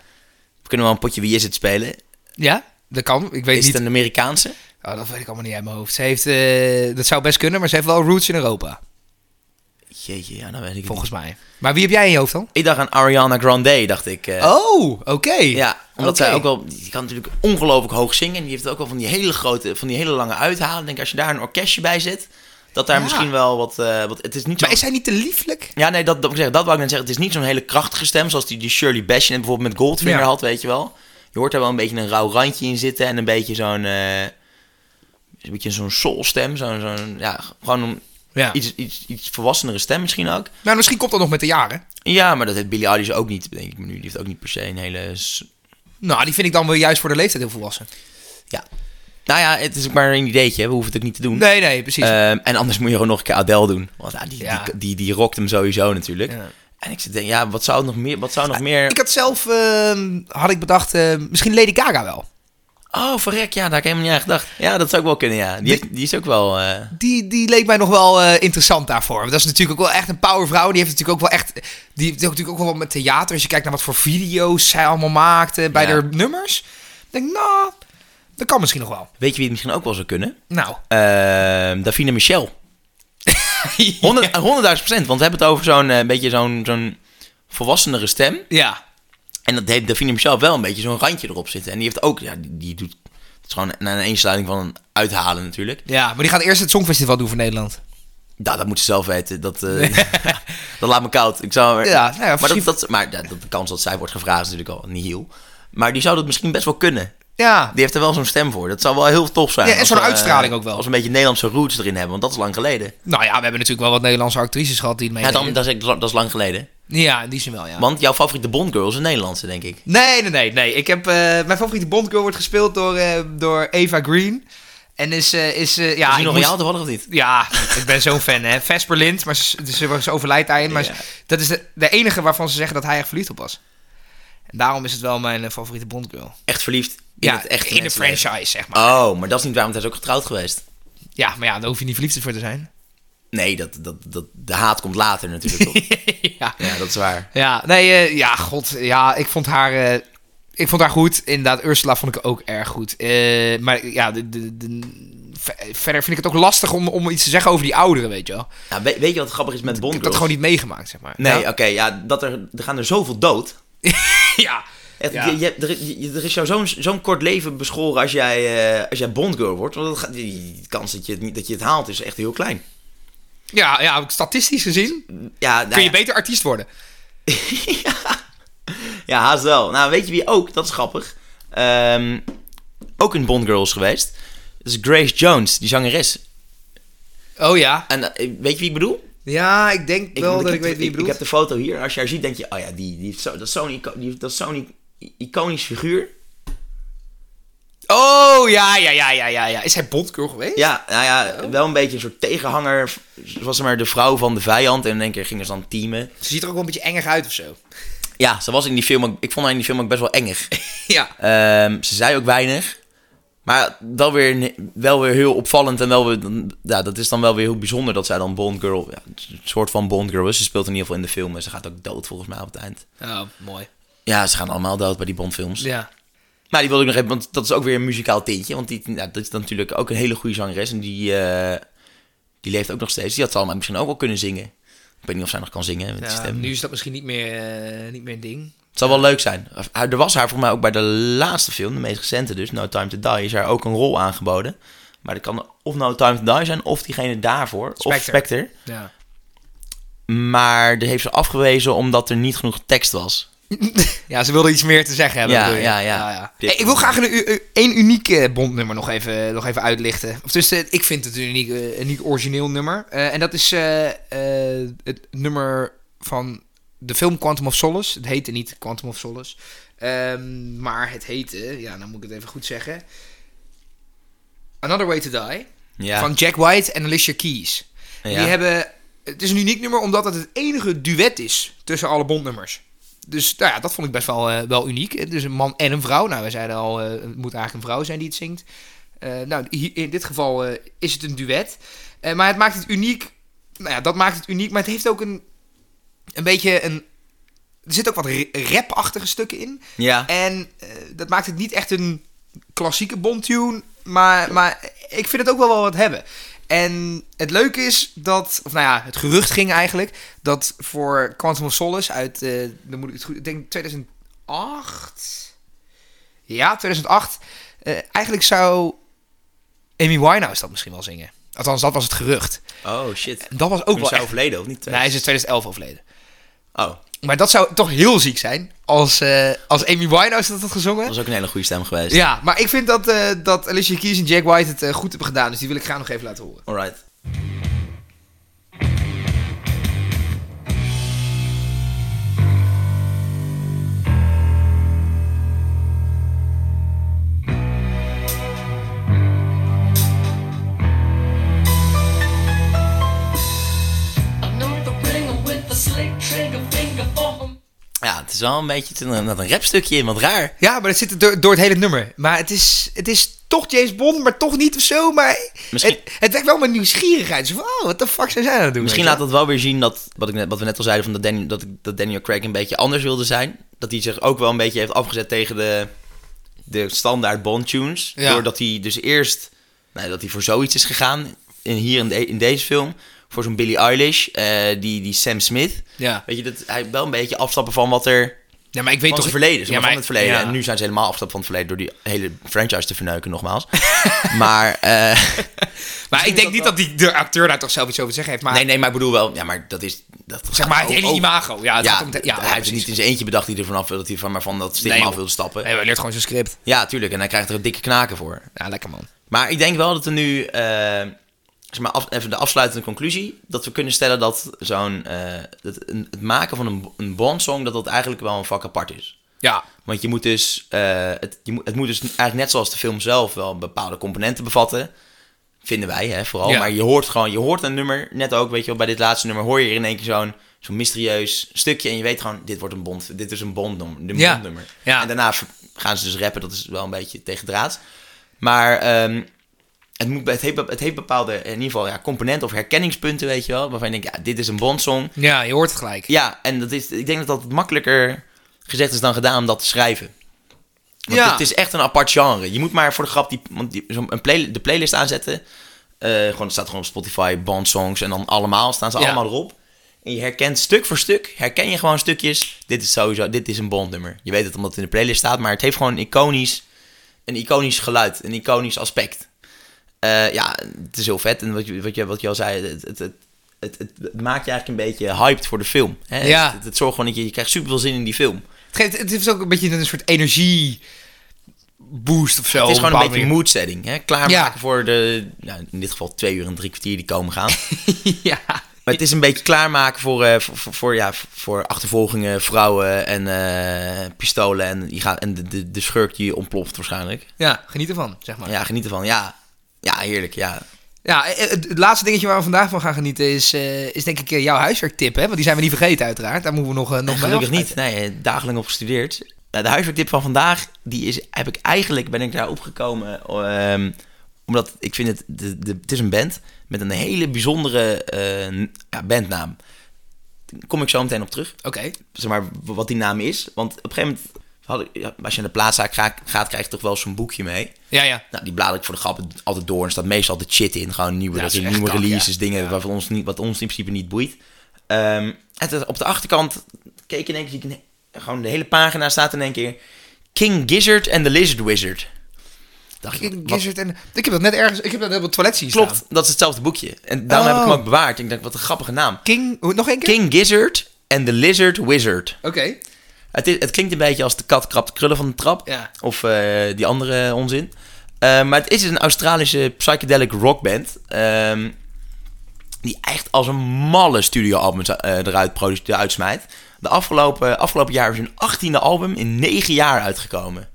Speaker 2: we kunnen wel een potje Wie is het spelen.
Speaker 1: Ja, dat kan. Ik weet
Speaker 2: Is
Speaker 1: niet.
Speaker 2: het een Amerikaanse?
Speaker 1: Oh, dat weet ik allemaal niet uit mijn hoofd. Ze heeft, eh, dat zou best kunnen, maar ze heeft wel roots in Europa.
Speaker 2: Jeetje, ja, dan weet ik het
Speaker 1: Volgens
Speaker 2: niet.
Speaker 1: mij. Maar wie heb jij in je hoofd dan?
Speaker 2: Ik dacht aan Ariana Grande, dacht ik. eh.
Speaker 1: Oh, oké.
Speaker 2: Ja, omdat
Speaker 1: Oké.
Speaker 2: zij ook wel... Die kan natuurlijk ongelooflijk hoog zingen. En die heeft ook wel van die hele grote, van die hele lange uithalen. Ik denk, als je daar een orkestje bij zet, dat daar
Speaker 1: Ja.
Speaker 2: misschien wel wat... eh, wat het is niet zo
Speaker 1: Maar is zij niet te lieflijk?
Speaker 2: Ja, nee, dat, dat, ik zeg, dat wou ik net zeggen. Het is niet zo'n hele krachtige stem zoals die, die Shirley Bassey bijvoorbeeld met Goldfinger
Speaker 1: Ja.
Speaker 2: had, weet je wel. Je hoort daar wel een beetje een rauw randje in zitten en een beetje zo'n... eh, een beetje zo'n soulstem, zo'n... zo'n ja, gewoon een
Speaker 1: Ja.
Speaker 2: iets, iets, iets volwassenere stem misschien ook.
Speaker 1: Nou, misschien komt dat nog met de jaren.
Speaker 2: Ja, maar dat heeft Billie Eilish ook niet, denk ik me nu. Die heeft ook niet per se een hele... s-
Speaker 1: Nou, die vind ik dan wel juist voor de leeftijd heel volwassen.
Speaker 2: Ja. Nou ja, het is ook maar een ideetje, hè. we hoeven het ook niet te doen.
Speaker 1: Nee, nee, precies.
Speaker 2: Ehm, en anders moet je gewoon nog een keer Adele doen. Want ja, die,
Speaker 1: Ja.
Speaker 2: die, die, die rokt hem sowieso natuurlijk.
Speaker 1: Ja.
Speaker 2: En ik zit te denken, ja, wat zou nog meer... Wat zou nog meer...
Speaker 1: ik had zelf, ehm, had ik bedacht, eh, misschien Lady Gaga wel.
Speaker 2: Oh, verrek, ja, daar heb ik helemaal niet aan gedacht. Ja, dat zou ook wel kunnen, ja. Die, heeft- die is ook wel... eh,
Speaker 1: Die, die leek mij nog wel eh, interessant daarvoor. Want dat is natuurlijk ook wel echt een powervrouw. Die heeft natuurlijk ook wel echt. Die heeft natuurlijk ook wel wat met theater. Als je kijkt naar wat voor video's zij allemaal maakte bij
Speaker 2: Ja.
Speaker 1: haar nummers. Dan denk ik, nou, dat kan misschien nog wel.
Speaker 2: Weet je wie het misschien ook wel zou kunnen? [laughs]
Speaker 1: Nou,
Speaker 2: Ehm
Speaker 1: [laughs]
Speaker 2: Davina Michel. 100 100.000 procent, want we hebben het over zo'n eh, beetje zo'n zo'n volwassenere stem.
Speaker 1: ja.
Speaker 2: En dat heeft Davina Michel wel een beetje zo'n randje erop zitten. En die heeft ook, ja, die, die doet... Het is gewoon een een eensluiting van een uithalen natuurlijk.
Speaker 1: Ja, maar die gaat eerst het Songfestival doen voor Nederland.
Speaker 2: Nou, dat moet ze zelf weten. Dat, eh, [laughs] dat laat me koud. Ik zou,
Speaker 1: Ja, nou ja,
Speaker 2: maar
Speaker 1: misschien-
Speaker 2: dat, dat, maar ja, dat- de kans dat zij wordt gevraagd is natuurlijk al niet heel. Maar die zou dat misschien best wel kunnen.
Speaker 1: Ja,
Speaker 2: Die heeft er wel zo'n stem voor. Dat zou wel heel tof zijn.
Speaker 1: Ja, en
Speaker 2: Als
Speaker 1: zo'n
Speaker 2: we, eh,
Speaker 1: uitstraling ook wel.
Speaker 2: Als we een beetje Nederlandse roots erin hebben, want dat is lang geleden.
Speaker 1: nou ja, we hebben natuurlijk wel wat Nederlandse actrices gehad die het
Speaker 2: Ja,
Speaker 1: meededen.
Speaker 2: dan, dat, is, echt- dat is lang geleden.
Speaker 1: Ja, in die zin wel, ja.
Speaker 2: Want jouw favoriete Bondgirl is een Nederlandse, denk ik.
Speaker 1: Nee, nee, nee, nee. Ik heb, eh, mijn favoriete Bondgirl wordt gespeeld door, eh, door Eva Green. En is... eh, is eh, ja,
Speaker 2: is
Speaker 1: ik
Speaker 2: die nog
Speaker 1: moest-
Speaker 2: real toevallig of niet?
Speaker 1: Ja, ik ben zo'n fan, hè. Vesper Lind, maar ze, ze, was- ze overlijdt daarin. Maar
Speaker 2: Ja.
Speaker 1: ze- dat is de, de enige waarvan ze zeggen dat hij echt verliefd op was. En daarom is het wel mijn eh, favoriete Bondgirl.
Speaker 2: Echt verliefd in
Speaker 1: Ja,
Speaker 2: het echte
Speaker 1: in de
Speaker 2: mensenleven.
Speaker 1: franchise, zeg maar.
Speaker 2: Oh, maar dat is niet waar, want hij is ook getrouwd geweest.
Speaker 1: Ah. Ja, maar ja, daar hoef je niet verliefd voor te zijn. [laughs]
Speaker 2: Nee, dat, dat, dat, de haat komt later natuurlijk. toch?
Speaker 1: [laughs] ja.
Speaker 2: ja, dat is waar.
Speaker 1: Ja, nee, eh, ja, god, ja, ik vond haar, eh, ik vond haar goed. Inderdaad, Ursula vond ik ook erg goed. Eh, maar ja, de, de, de- ver- verder vind ik het ook lastig om, om iets te zeggen over die ouderen, weet je wel. Ik
Speaker 2: Ja, weet, weet je wat grappig is met Bondgirls?
Speaker 1: heb dat gewoon niet meegemaakt, zeg maar.
Speaker 2: Nee,
Speaker 1: ja.
Speaker 2: oké, ja, dat er, er gaan er zoveel dood.
Speaker 1: [laughs] ja.
Speaker 2: Echt,
Speaker 1: Ja.
Speaker 2: je, je, hebt- er, je- er is jou zo'n zo'n kort leven beschoren als jij, eh, als jij Bondgirl wordt. Want dat gaat, die, die kans dat je, het, niet- dat je het haalt is echt heel klein.
Speaker 1: Ja, ja, statistisch gezien
Speaker 2: Ja, nou
Speaker 1: kun je
Speaker 2: ja,
Speaker 1: beter artiest worden.
Speaker 2: [laughs] ja, haast wel. Nou, weet je wie ook? Dat is grappig. Ehm, ook een Bondgirl is geweest. Dat is Grace Jones, die zangeres.
Speaker 1: Oh ja.
Speaker 2: En eh, weet je wie ik bedoel?
Speaker 1: Ja, ik denk wel
Speaker 2: want
Speaker 1: dat ik
Speaker 2: heb-
Speaker 1: weet wie je
Speaker 2: Ik
Speaker 1: bedoelt.
Speaker 2: heb de foto hier. Als je haar ziet, denk je... Oh ja, die, die, heeft zo- dat is zo'n ico- die- dat is zo'n i- iconisch figuur.
Speaker 1: Oh ja, ja, ja, ja, ja, ja. Is hij Bondgirl geweest?
Speaker 2: Ja, nou ja, wel een beetje een soort tegenhanger. Ze Was maar de vrouw van de vijand. En in één keer gingen ze dan teamen.
Speaker 1: Ze ziet er ook wel een beetje engig uit of zo.
Speaker 2: Ja, ze was in die film... ook- Ik vond haar in die film ook best wel engig.
Speaker 1: ja.
Speaker 2: [laughs] Ehm, ze zei ook weinig. Maar dan weer, ne- wel weer heel opvallend. En wel weer, ja, dat is dan wel weer heel bijzonder dat zij dan Bondgirl... Ja, een soort van Bondgirl is. Ze speelt in ieder geval in de film. En ze gaat ook dood volgens mij op het eind.
Speaker 1: Oh, mooi.
Speaker 2: Ja, ze gaan allemaal dood bij die Bondfilms.
Speaker 1: Ja.
Speaker 2: Maar die wilde ik nog even, want dat is ook weer een muzikaal tintje. Want die, ja, dat is dan natuurlijk ook een hele goede zangeres. En die, eh, die leeft ook nog steeds. Die had ze allemaal misschien ook wel kunnen zingen. Ik weet niet of zij nog kan zingen met die
Speaker 1: Ja,
Speaker 2: stem.
Speaker 1: nu is dat misschien niet meer, eh, niet meer een ding.
Speaker 2: Het zou wel leuk zijn. Haar- Er was haar voor mij ook bij de laatste film, de meest recente dus, No Time To Die, is haar ook een rol aangeboden. Maar dat kan of No Time To Die zijn, of diegene daarvoor, of
Speaker 1: Spectre.
Speaker 2: Spectre.
Speaker 1: Ja.
Speaker 2: Maar die heeft ze afgewezen omdat er niet genoeg tekst was.
Speaker 1: Ja, ze wilde iets meer te zeggen hebben.
Speaker 2: Ja,
Speaker 1: bedoel je?
Speaker 2: ja, ja.
Speaker 1: Hey, ik wil graag een, u- u- één uniek eh, bondnummer nog even, nog even uitlichten. Of dus, eh, ik vind het een uniek, eh, uniek origineel nummer. Eh, en dat is eh, eh, het nummer van de film Quantum of Solace. Het heette niet Quantum of Solace. Ehm, maar het heette, ja, dan moet ik het even goed zeggen. Another Way to Die.
Speaker 2: Ja.
Speaker 1: Van Jack White en Alicia Keys. En
Speaker 2: Ja.
Speaker 1: Die hebben, het is een uniek nummer omdat het het enige duet is tussen alle bondnummers. Dus nou ja, dat vond ik best wel, eh, wel uniek. Dus een man en een vrouw. Nou, we zeiden al, eh, het moet eigenlijk een vrouw zijn die het zingt. Eh, nou, hier- in dit geval eh, is het een duet. Eh, maar het maakt het uniek. Nou ja, dat maakt het uniek. Maar het heeft ook een, een beetje een... Er zitten ook wat ra- rapachtige stukken in.
Speaker 2: Ja.
Speaker 1: En eh, dat maakt het niet echt een klassieke bondtune. Maar, maar ik vind het ook wel wel wat hebben. En het leuke is dat, of nou ja, het gerucht ging eigenlijk, dat voor Quantum of Solace uit, eh, dan moet ik het goed, ik denk 2008. Ja, 2008. eh, eigenlijk zou Amy Winehouse dat misschien wel zingen. Althans, dat was het gerucht.
Speaker 2: Oh shit.
Speaker 1: En dat was
Speaker 2: Ook
Speaker 1: ook
Speaker 2: wel
Speaker 1: wel echt...
Speaker 2: overleden, of niet?
Speaker 1: Nee, hij is in 2011 overleden.
Speaker 2: Oh,
Speaker 1: Maar dat zou toch heel ziek zijn als, eh, als Amy Winehouse dat had gezongen.
Speaker 2: dat was ook een hele goede stem geweest.
Speaker 1: Ja, maar ik vind dat, eh, dat Alicia Keys en Jack White het eh, goed hebben gedaan. Dus die wil ik graag nog even laten horen.
Speaker 2: Alright. Ja, het is wel een beetje het is een, een rapstukje in, wat raar.
Speaker 1: Ja, maar dat zit er door, door het hele nummer. Maar het is, het is toch James Bond, maar toch niet of zo. Maar
Speaker 2: Misschien-
Speaker 1: het, het wekt wel mijn nieuwsgierigheid. Zo van, oh, wat de fuck zijn zij aan het doen?
Speaker 2: Misschien
Speaker 1: weet
Speaker 2: laat
Speaker 1: je
Speaker 2: dat wel weer zien dat, wat, ik net, wat we net al zeiden, van dat, Daniel, dat, ik- dat Daniel Craig een beetje anders wilde zijn. Dat hij zich ook wel een beetje heeft afgezet tegen de, de standaard Bond-tunes.
Speaker 1: Ja.
Speaker 2: Doordat hij dus eerst, nou, dat hij voor zoiets is gegaan, in, hier in, de- in deze film, voor zo'n Billie Eilish, eh, die, die Sam Smith.
Speaker 1: Ja.
Speaker 2: Weet je, dat hij wel een beetje afstappen van wat er...
Speaker 1: wel. Ja, maar ik weet
Speaker 2: Van
Speaker 1: toch...
Speaker 2: het verleden, ze
Speaker 1: ja,
Speaker 2: maar, van het verleden.
Speaker 1: ja.
Speaker 2: En nu zijn ze helemaal afstap van het verleden door die hele franchise te verneuken, nogmaals. [laughs] maar, eh,
Speaker 1: Maar ik denk niet dat die, de acteur daar toch zelf iets over te zeggen heeft. Maar
Speaker 2: nee, nee, maar ik bedoel wel, ja, maar dat is... Dat
Speaker 1: Ah. zeg
Speaker 2: gaat
Speaker 1: maar het
Speaker 2: ook
Speaker 1: hele
Speaker 2: over.
Speaker 1: imago. Ja, het
Speaker 2: Ja,
Speaker 1: gaat om te- ja,
Speaker 2: hij
Speaker 1: ja,
Speaker 2: heeft het niet
Speaker 1: precies.
Speaker 2: in zijn eentje bedacht die er vanaf wil, dat hij van, maar van dat stigma
Speaker 1: Nee,
Speaker 2: af
Speaker 1: joh.
Speaker 2: wil stappen.
Speaker 1: Nee, hij leert gewoon zijn script.
Speaker 2: Ja, tuurlijk. En hij krijgt er een dikke knaken voor.
Speaker 1: Ja, lekker man.
Speaker 2: Maar ik denk wel dat we nu, eh, zeg maar, af- even de afsluitende conclusie, dat we kunnen stellen dat zo'n, eh, dat een- het maken van een, een Bond-song, dat dat eigenlijk wel een vak apart is.
Speaker 1: Ja,
Speaker 2: Want je moet dus, eh, het, je moet, het moet dus eigenlijk net zoals de film zelf wel bepaalde componenten bevatten. Vinden wij, hè, vooral.
Speaker 1: Ja.
Speaker 2: Maar je hoort gewoon, je hoort een nummer, net ook, weet je wel, bij dit laatste nummer hoor je in één keer zo'n zo'n mysterieus stukje. En je weet gewoon, dit wordt een bond, dit is een bondnummer. Een
Speaker 1: Ja.
Speaker 2: bondnummer.
Speaker 1: Ja.
Speaker 2: En daarna ver- gaan ze dus rappen, dat is wel een beetje tegendraads. Maar ehm, het, moet, het, heeft, be- het heeft bepaalde, in ieder geval, ja, componenten of herkenningspunten, weet je wel. Waarvan je denkt, ja, dit is een bondsong.
Speaker 1: ja je hoort het gelijk.
Speaker 2: Ja, en dat is, ik denk dat dat makkelijker gezegd is dan gedaan om dat te schrijven. Want
Speaker 1: Ja.
Speaker 2: het is echt een apart genre. Je moet maar voor de grap die, want die, zo'n- een play, de playlist aanzetten. Eh, gewoon, het staat gewoon op Spotify, Bond Songs en dan allemaal, staan ze
Speaker 1: Ja.
Speaker 2: allemaal erop. En je herkent stuk voor stuk, herken je gewoon stukjes. Dit is sowieso, dit is een Bond-nummer. Je weet het omdat het in de playlist staat, maar het heeft gewoon een iconisch, een iconisch geluid, een iconisch aspect. Eh, ja, het is heel vet. En wat je, wat je, wat je al zei, het, het, het, het, het- het maakt je eigenlijk een beetje hyped voor de film. Hè?
Speaker 1: Ja.
Speaker 2: Het, het zorgt gewoon dat je, je krijgt super veel zin in die film.
Speaker 1: Het, geeft, het heeft ook een beetje een soort energie boost of zo.
Speaker 2: het is
Speaker 1: op
Speaker 2: gewoon een beetje
Speaker 1: bepaalde
Speaker 2: een mood setting. Hè? Klaarmaken
Speaker 1: Oh, Ja.
Speaker 2: voor de, nou, in dit geval twee uur en drie kwartier die komen gaan. [laughs]
Speaker 1: manier. [laughs] Ja.
Speaker 2: maar het is een beetje klaarmaken voor, eh, voor, voor, voor, ja, voor achtervolgingen, vrouwen en eh, pistolen. En, je gaat, en de, de, de schurk die ontploft waarschijnlijk.
Speaker 1: ja, geniet ervan, zeg maar. Ja,
Speaker 2: Ja, geniet ervan. Ja, ja heerlijk. Ja.
Speaker 1: eh, het, het laatste dingetje waar we vandaag van gaan genieten is, eh, is denk ik eh, jouw huiswerktip, hè? Want die zijn we niet vergeten uiteraard. Daar moeten we nog, eh, nog bij
Speaker 2: Gelukkig niet.
Speaker 1: afsluiten.
Speaker 2: Nee, dagelijks op gestudeerd. Nou, de huiswerktip van vandaag, die is, heb ik eigenlijk, ben ik daar opgekomen, ehm, omdat ik vind het, de, de, het is een band met een hele bijzondere eh, n- ja, bandnaam. Daar kom ik zo meteen op terug,
Speaker 1: Oké.
Speaker 2: zeg maar, w- wat die naam is. Want op een gegeven moment, had ik- ja, als je naar de plaatszaak gaat, gaat, krijg je toch wel zo'n boekje mee.
Speaker 1: Ja, ja.
Speaker 2: Nou, die blader ik voor de grap altijd door. En er staat meestal altijd shit in. Gewoon nieuwe,
Speaker 1: Ja, dat
Speaker 2: dat
Speaker 1: is
Speaker 2: zijn
Speaker 1: echt
Speaker 2: nieuwe
Speaker 1: kak,
Speaker 2: releases,
Speaker 1: ja.
Speaker 2: dingen waarvan ons niet, wat ons in principe niet boeit. Ehm, en toen op de achterkant keek in één keer, zie ik een he- gewoon de hele pagina staat in één keer... King Gizzard en the Lizard Wizard. Dacht ik,
Speaker 1: King
Speaker 2: wat-
Speaker 1: Gizzard en... Ik heb dat net ergens... Ik heb dat net op het toilet zien
Speaker 2: klopt,
Speaker 1: staan.
Speaker 2: dat is hetzelfde boekje. En daarom heb ik
Speaker 1: Oh.
Speaker 2: hem ook bewaard. Ik dacht, wat een grappige naam.
Speaker 1: King... hoe- Nog één keer?
Speaker 2: King Gizzard en the Lizard Wizard.
Speaker 1: Oké.
Speaker 2: Het, is, het klinkt een beetje als de kat krabt de krullen van de trap.
Speaker 1: Ja.
Speaker 2: Of eh, die andere onzin. Eh, maar het is een Australische psychedelic rockband. ehm, die echt als een malle studioalbum eruit produ- eruit smijt. De afgelopen, afgelopen jaar is hun 18e album in 9 jaar uitgekomen.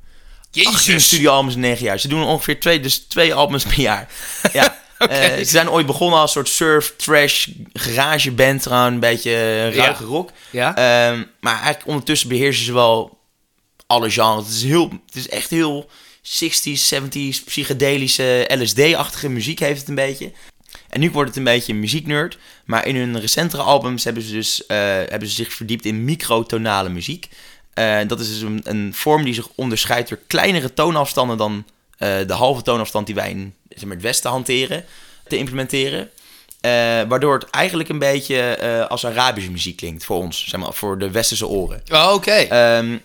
Speaker 2: 18
Speaker 1: Jezus.
Speaker 2: studioalbums in 9 jaar. Ze doen ongeveer twee, dus twee albums per
Speaker 1: [laughs]
Speaker 2: jaar. Ja. Eh, ze zijn ooit begonnen als soort surf, trash, garageband. Gewoon een beetje eh, ruige rock.
Speaker 1: Ja.
Speaker 2: Ehm, maar eigenlijk ondertussen beheersen ze wel alle genres. Het is, heel, het is echt heel 60s, 70s, psychedelische, LSD-achtige muziek heeft het een beetje. En nu wordt het een beetje een muzieknerd. Maar in hun recentere albums hebben ze, dus, eh, hebben ze zich verdiept in microtonale muziek. Eh, dat is dus een, een vorm die zich onderscheidt door kleinere toonafstanden dan eh, de halve toonafstand die wij in zeg maar, het Westen hanteren, te implementeren. Eh, waardoor het eigenlijk een beetje eh, als Arabische muziek klinkt voor ons, zeg maar, voor de Westerse oren.
Speaker 1: Oh, Oké.
Speaker 2: Ehm,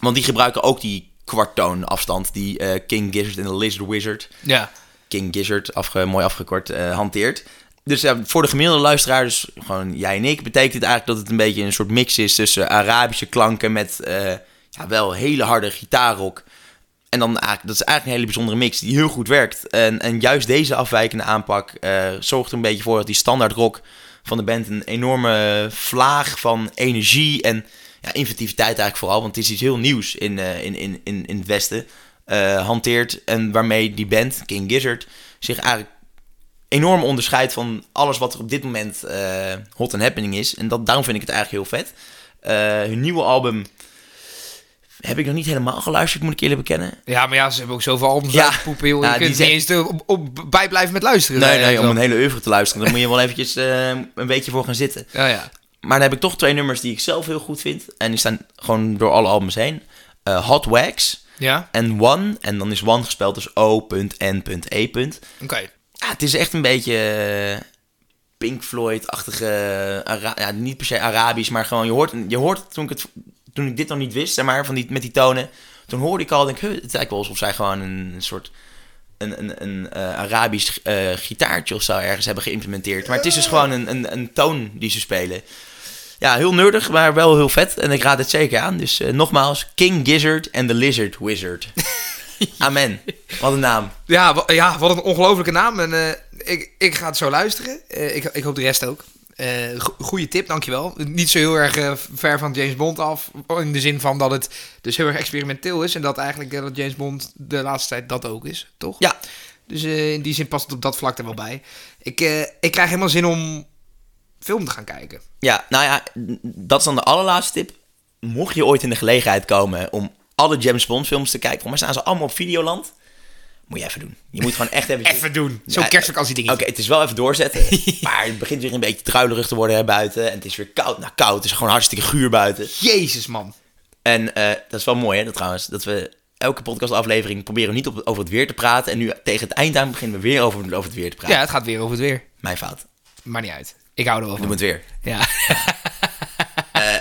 Speaker 2: want die gebruiken ook die kwarttoonafstand die eh, King Gizzard en de Lizard Wizard
Speaker 1: ja.
Speaker 2: King Gizzard, afge, mooi afgekort, eh, hanteert. Dus ja, voor de gemiddelde luisteraar, dus gewoon jij en ik, betekent het eigenlijk dat het een beetje een soort mix is tussen Arabische klanken met eh, ja, wel hele harde gitaarrock. En dan eigenlijk, dat is eigenlijk een hele bijzondere mix die heel goed werkt. En, en juist deze afwijkende aanpak eh, zorgt er een beetje voor dat die standaard rock van de band een enorme vlaag van energie en ja, inventiviteit eigenlijk vooral. Want het is iets heel nieuws in, eh, in, in, in, in het Westen eh, hanteert. En waarmee die band, King Gizzard, zich eigenlijk enorm onderscheidt van alles wat er op dit moment eh, hot and happening is. En dat, daarom vind ik het eigenlijk heel vet. Eh, Eh, hun nieuwe album heb ik nog niet helemaal geluisterd, moet ik eerlijk bekennen.
Speaker 1: Ja, maar ja, ze hebben ook zoveel albums
Speaker 2: Ja.
Speaker 1: uitgepoepen, joh.
Speaker 2: Ja,
Speaker 1: je
Speaker 2: die
Speaker 1: kunt niet
Speaker 2: zijn-
Speaker 1: eens er op, op, bij blijven met luisteren.
Speaker 2: Nee,
Speaker 1: Eh,
Speaker 2: nee, om
Speaker 1: zo.
Speaker 2: een hele oeuvre te luisteren. Dan moet je wel eventjes eh, een beetje voor gaan zitten.
Speaker 1: Ja, ja.
Speaker 2: Maar dan heb ik toch twee nummers die ik zelf heel goed vind. En die staan gewoon door alle albums heen. Eh, Hot Wax
Speaker 1: Ja?
Speaker 2: en One. En dan is One gespeld dus O.N.E.
Speaker 1: Oké.
Speaker 2: Ja, het is echt een beetje eh, Pink Floyd-achtige... Ara- ja, niet per se Arabisch, maar gewoon... Je hoort, je hoort toen, ik het, toen ik dit nog niet wist, zeg maar, van die, met die tonen... Toen hoorde ik al, denk ik, huh, het lijkt wel alsof zij gewoon een soort... Een, een, een eh, Arabisch eh, gitaartje of zo ergens hebben geïmplementeerd. Maar het is dus gewoon een, een, een toon die ze spelen. Ja, heel nerdig, maar wel heel vet. En ik raad het zeker aan. Dus eh, nogmaals, King Gizzard en The Lizard Wizard. Amen. Wat een naam.
Speaker 1: Ja, wa- ja, wat een ongelofelijke naam. En, eh, ik, ik ga het zo luisteren. Eh, ik, ik hoop de rest ook. Eh go- goeie tip, dankjewel. Niet zo heel erg eh, ver van James Bond af. In de zin van dat het dus heel erg experimenteel is. En dat eigenlijk eh, dat James Bond de laatste tijd dat ook is, toch?
Speaker 2: Ja,
Speaker 1: Dus eh, in die zin past het op dat vlak er wel bij. Ik, eh, ik krijg helemaal zin om film te gaan kijken.
Speaker 2: Ja, nou ja, dat is dan de allerlaatste tip. Mocht je ooit in de gelegenheid komen om alle James Bond films te kijken, voor mij staan ze allemaal op Videoland. Moet je even doen. Je moet gewoon echt even...
Speaker 1: [laughs] Even doen. Eh, Zo
Speaker 2: Ja,
Speaker 1: kerstelijk als die
Speaker 2: Oké,
Speaker 1: dingen.
Speaker 2: het is wel even doorzetten. [laughs] maar het begint weer een beetje druilerig te worden hè, buiten. En het is weer koud. Nou, koud. Het is gewoon hartstikke guur buiten.
Speaker 1: Jezus, man.
Speaker 2: En eh, dat is wel mooi, hè, dat trouwens. Dat we elke podcastaflevering proberen niet op, over het weer te praten. En nu tegen het eind aan beginnen we weer over, over het weer te praten.
Speaker 1: Ja, het gaat weer over het weer.
Speaker 2: Mijn fout.
Speaker 1: Maar niet uit. Ik hou er wel
Speaker 2: Doe
Speaker 1: van.
Speaker 2: het weer.
Speaker 1: Ja. [laughs]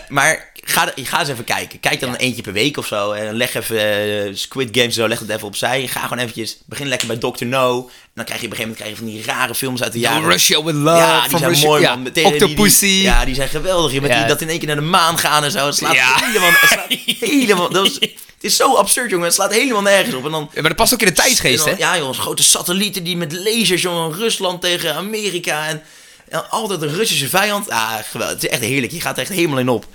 Speaker 2: Maar ga, ga eens even kijken. Kijk dan eentje per week of zo. En leg even eh, Squid Games en zo, leg het even opzij. Ga gewoon eventjes, begin lekker bij Dr. No. En dan krijg je op een gegeven moment krijg je van die rare films uit de jaren...
Speaker 1: Russia with Love.
Speaker 2: ja, die
Speaker 1: van
Speaker 2: zijn
Speaker 1: Russia-
Speaker 2: mooi,
Speaker 1: ja,
Speaker 2: man. Meteen die- die-
Speaker 1: Octopussy.
Speaker 2: ja, die zijn geweldig. Je bent
Speaker 1: Ja.
Speaker 2: die- dat in één keer naar de maan gaan en zo. Het slaat
Speaker 1: Ja.
Speaker 2: helemaal... Het, slaat
Speaker 1: [laughs]
Speaker 2: helemaal dat is, het is zo absurd, jongen. Het slaat helemaal nergens op. En dan...
Speaker 1: Ja, maar dat past ook in de tijdsgeest,
Speaker 2: En
Speaker 1: hè?
Speaker 2: dan- Ja, jongens, grote satellieten die met lasers, jongen, Rusland tegen Amerika en, en altijd een Russische vijand. Ah, geweldig. Het is echt heerlijk. Je gaat er echt helemaal in op.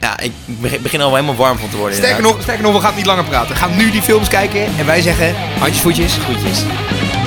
Speaker 2: Ja, ik beg- begin al helemaal warm van te worden.
Speaker 1: Sterker
Speaker 2: inderdaad.
Speaker 1: nog, sterker nog, we gaan niet langer praten. We gaan nu die films kijken en wij zeggen handjes, voetjes. Goedjes.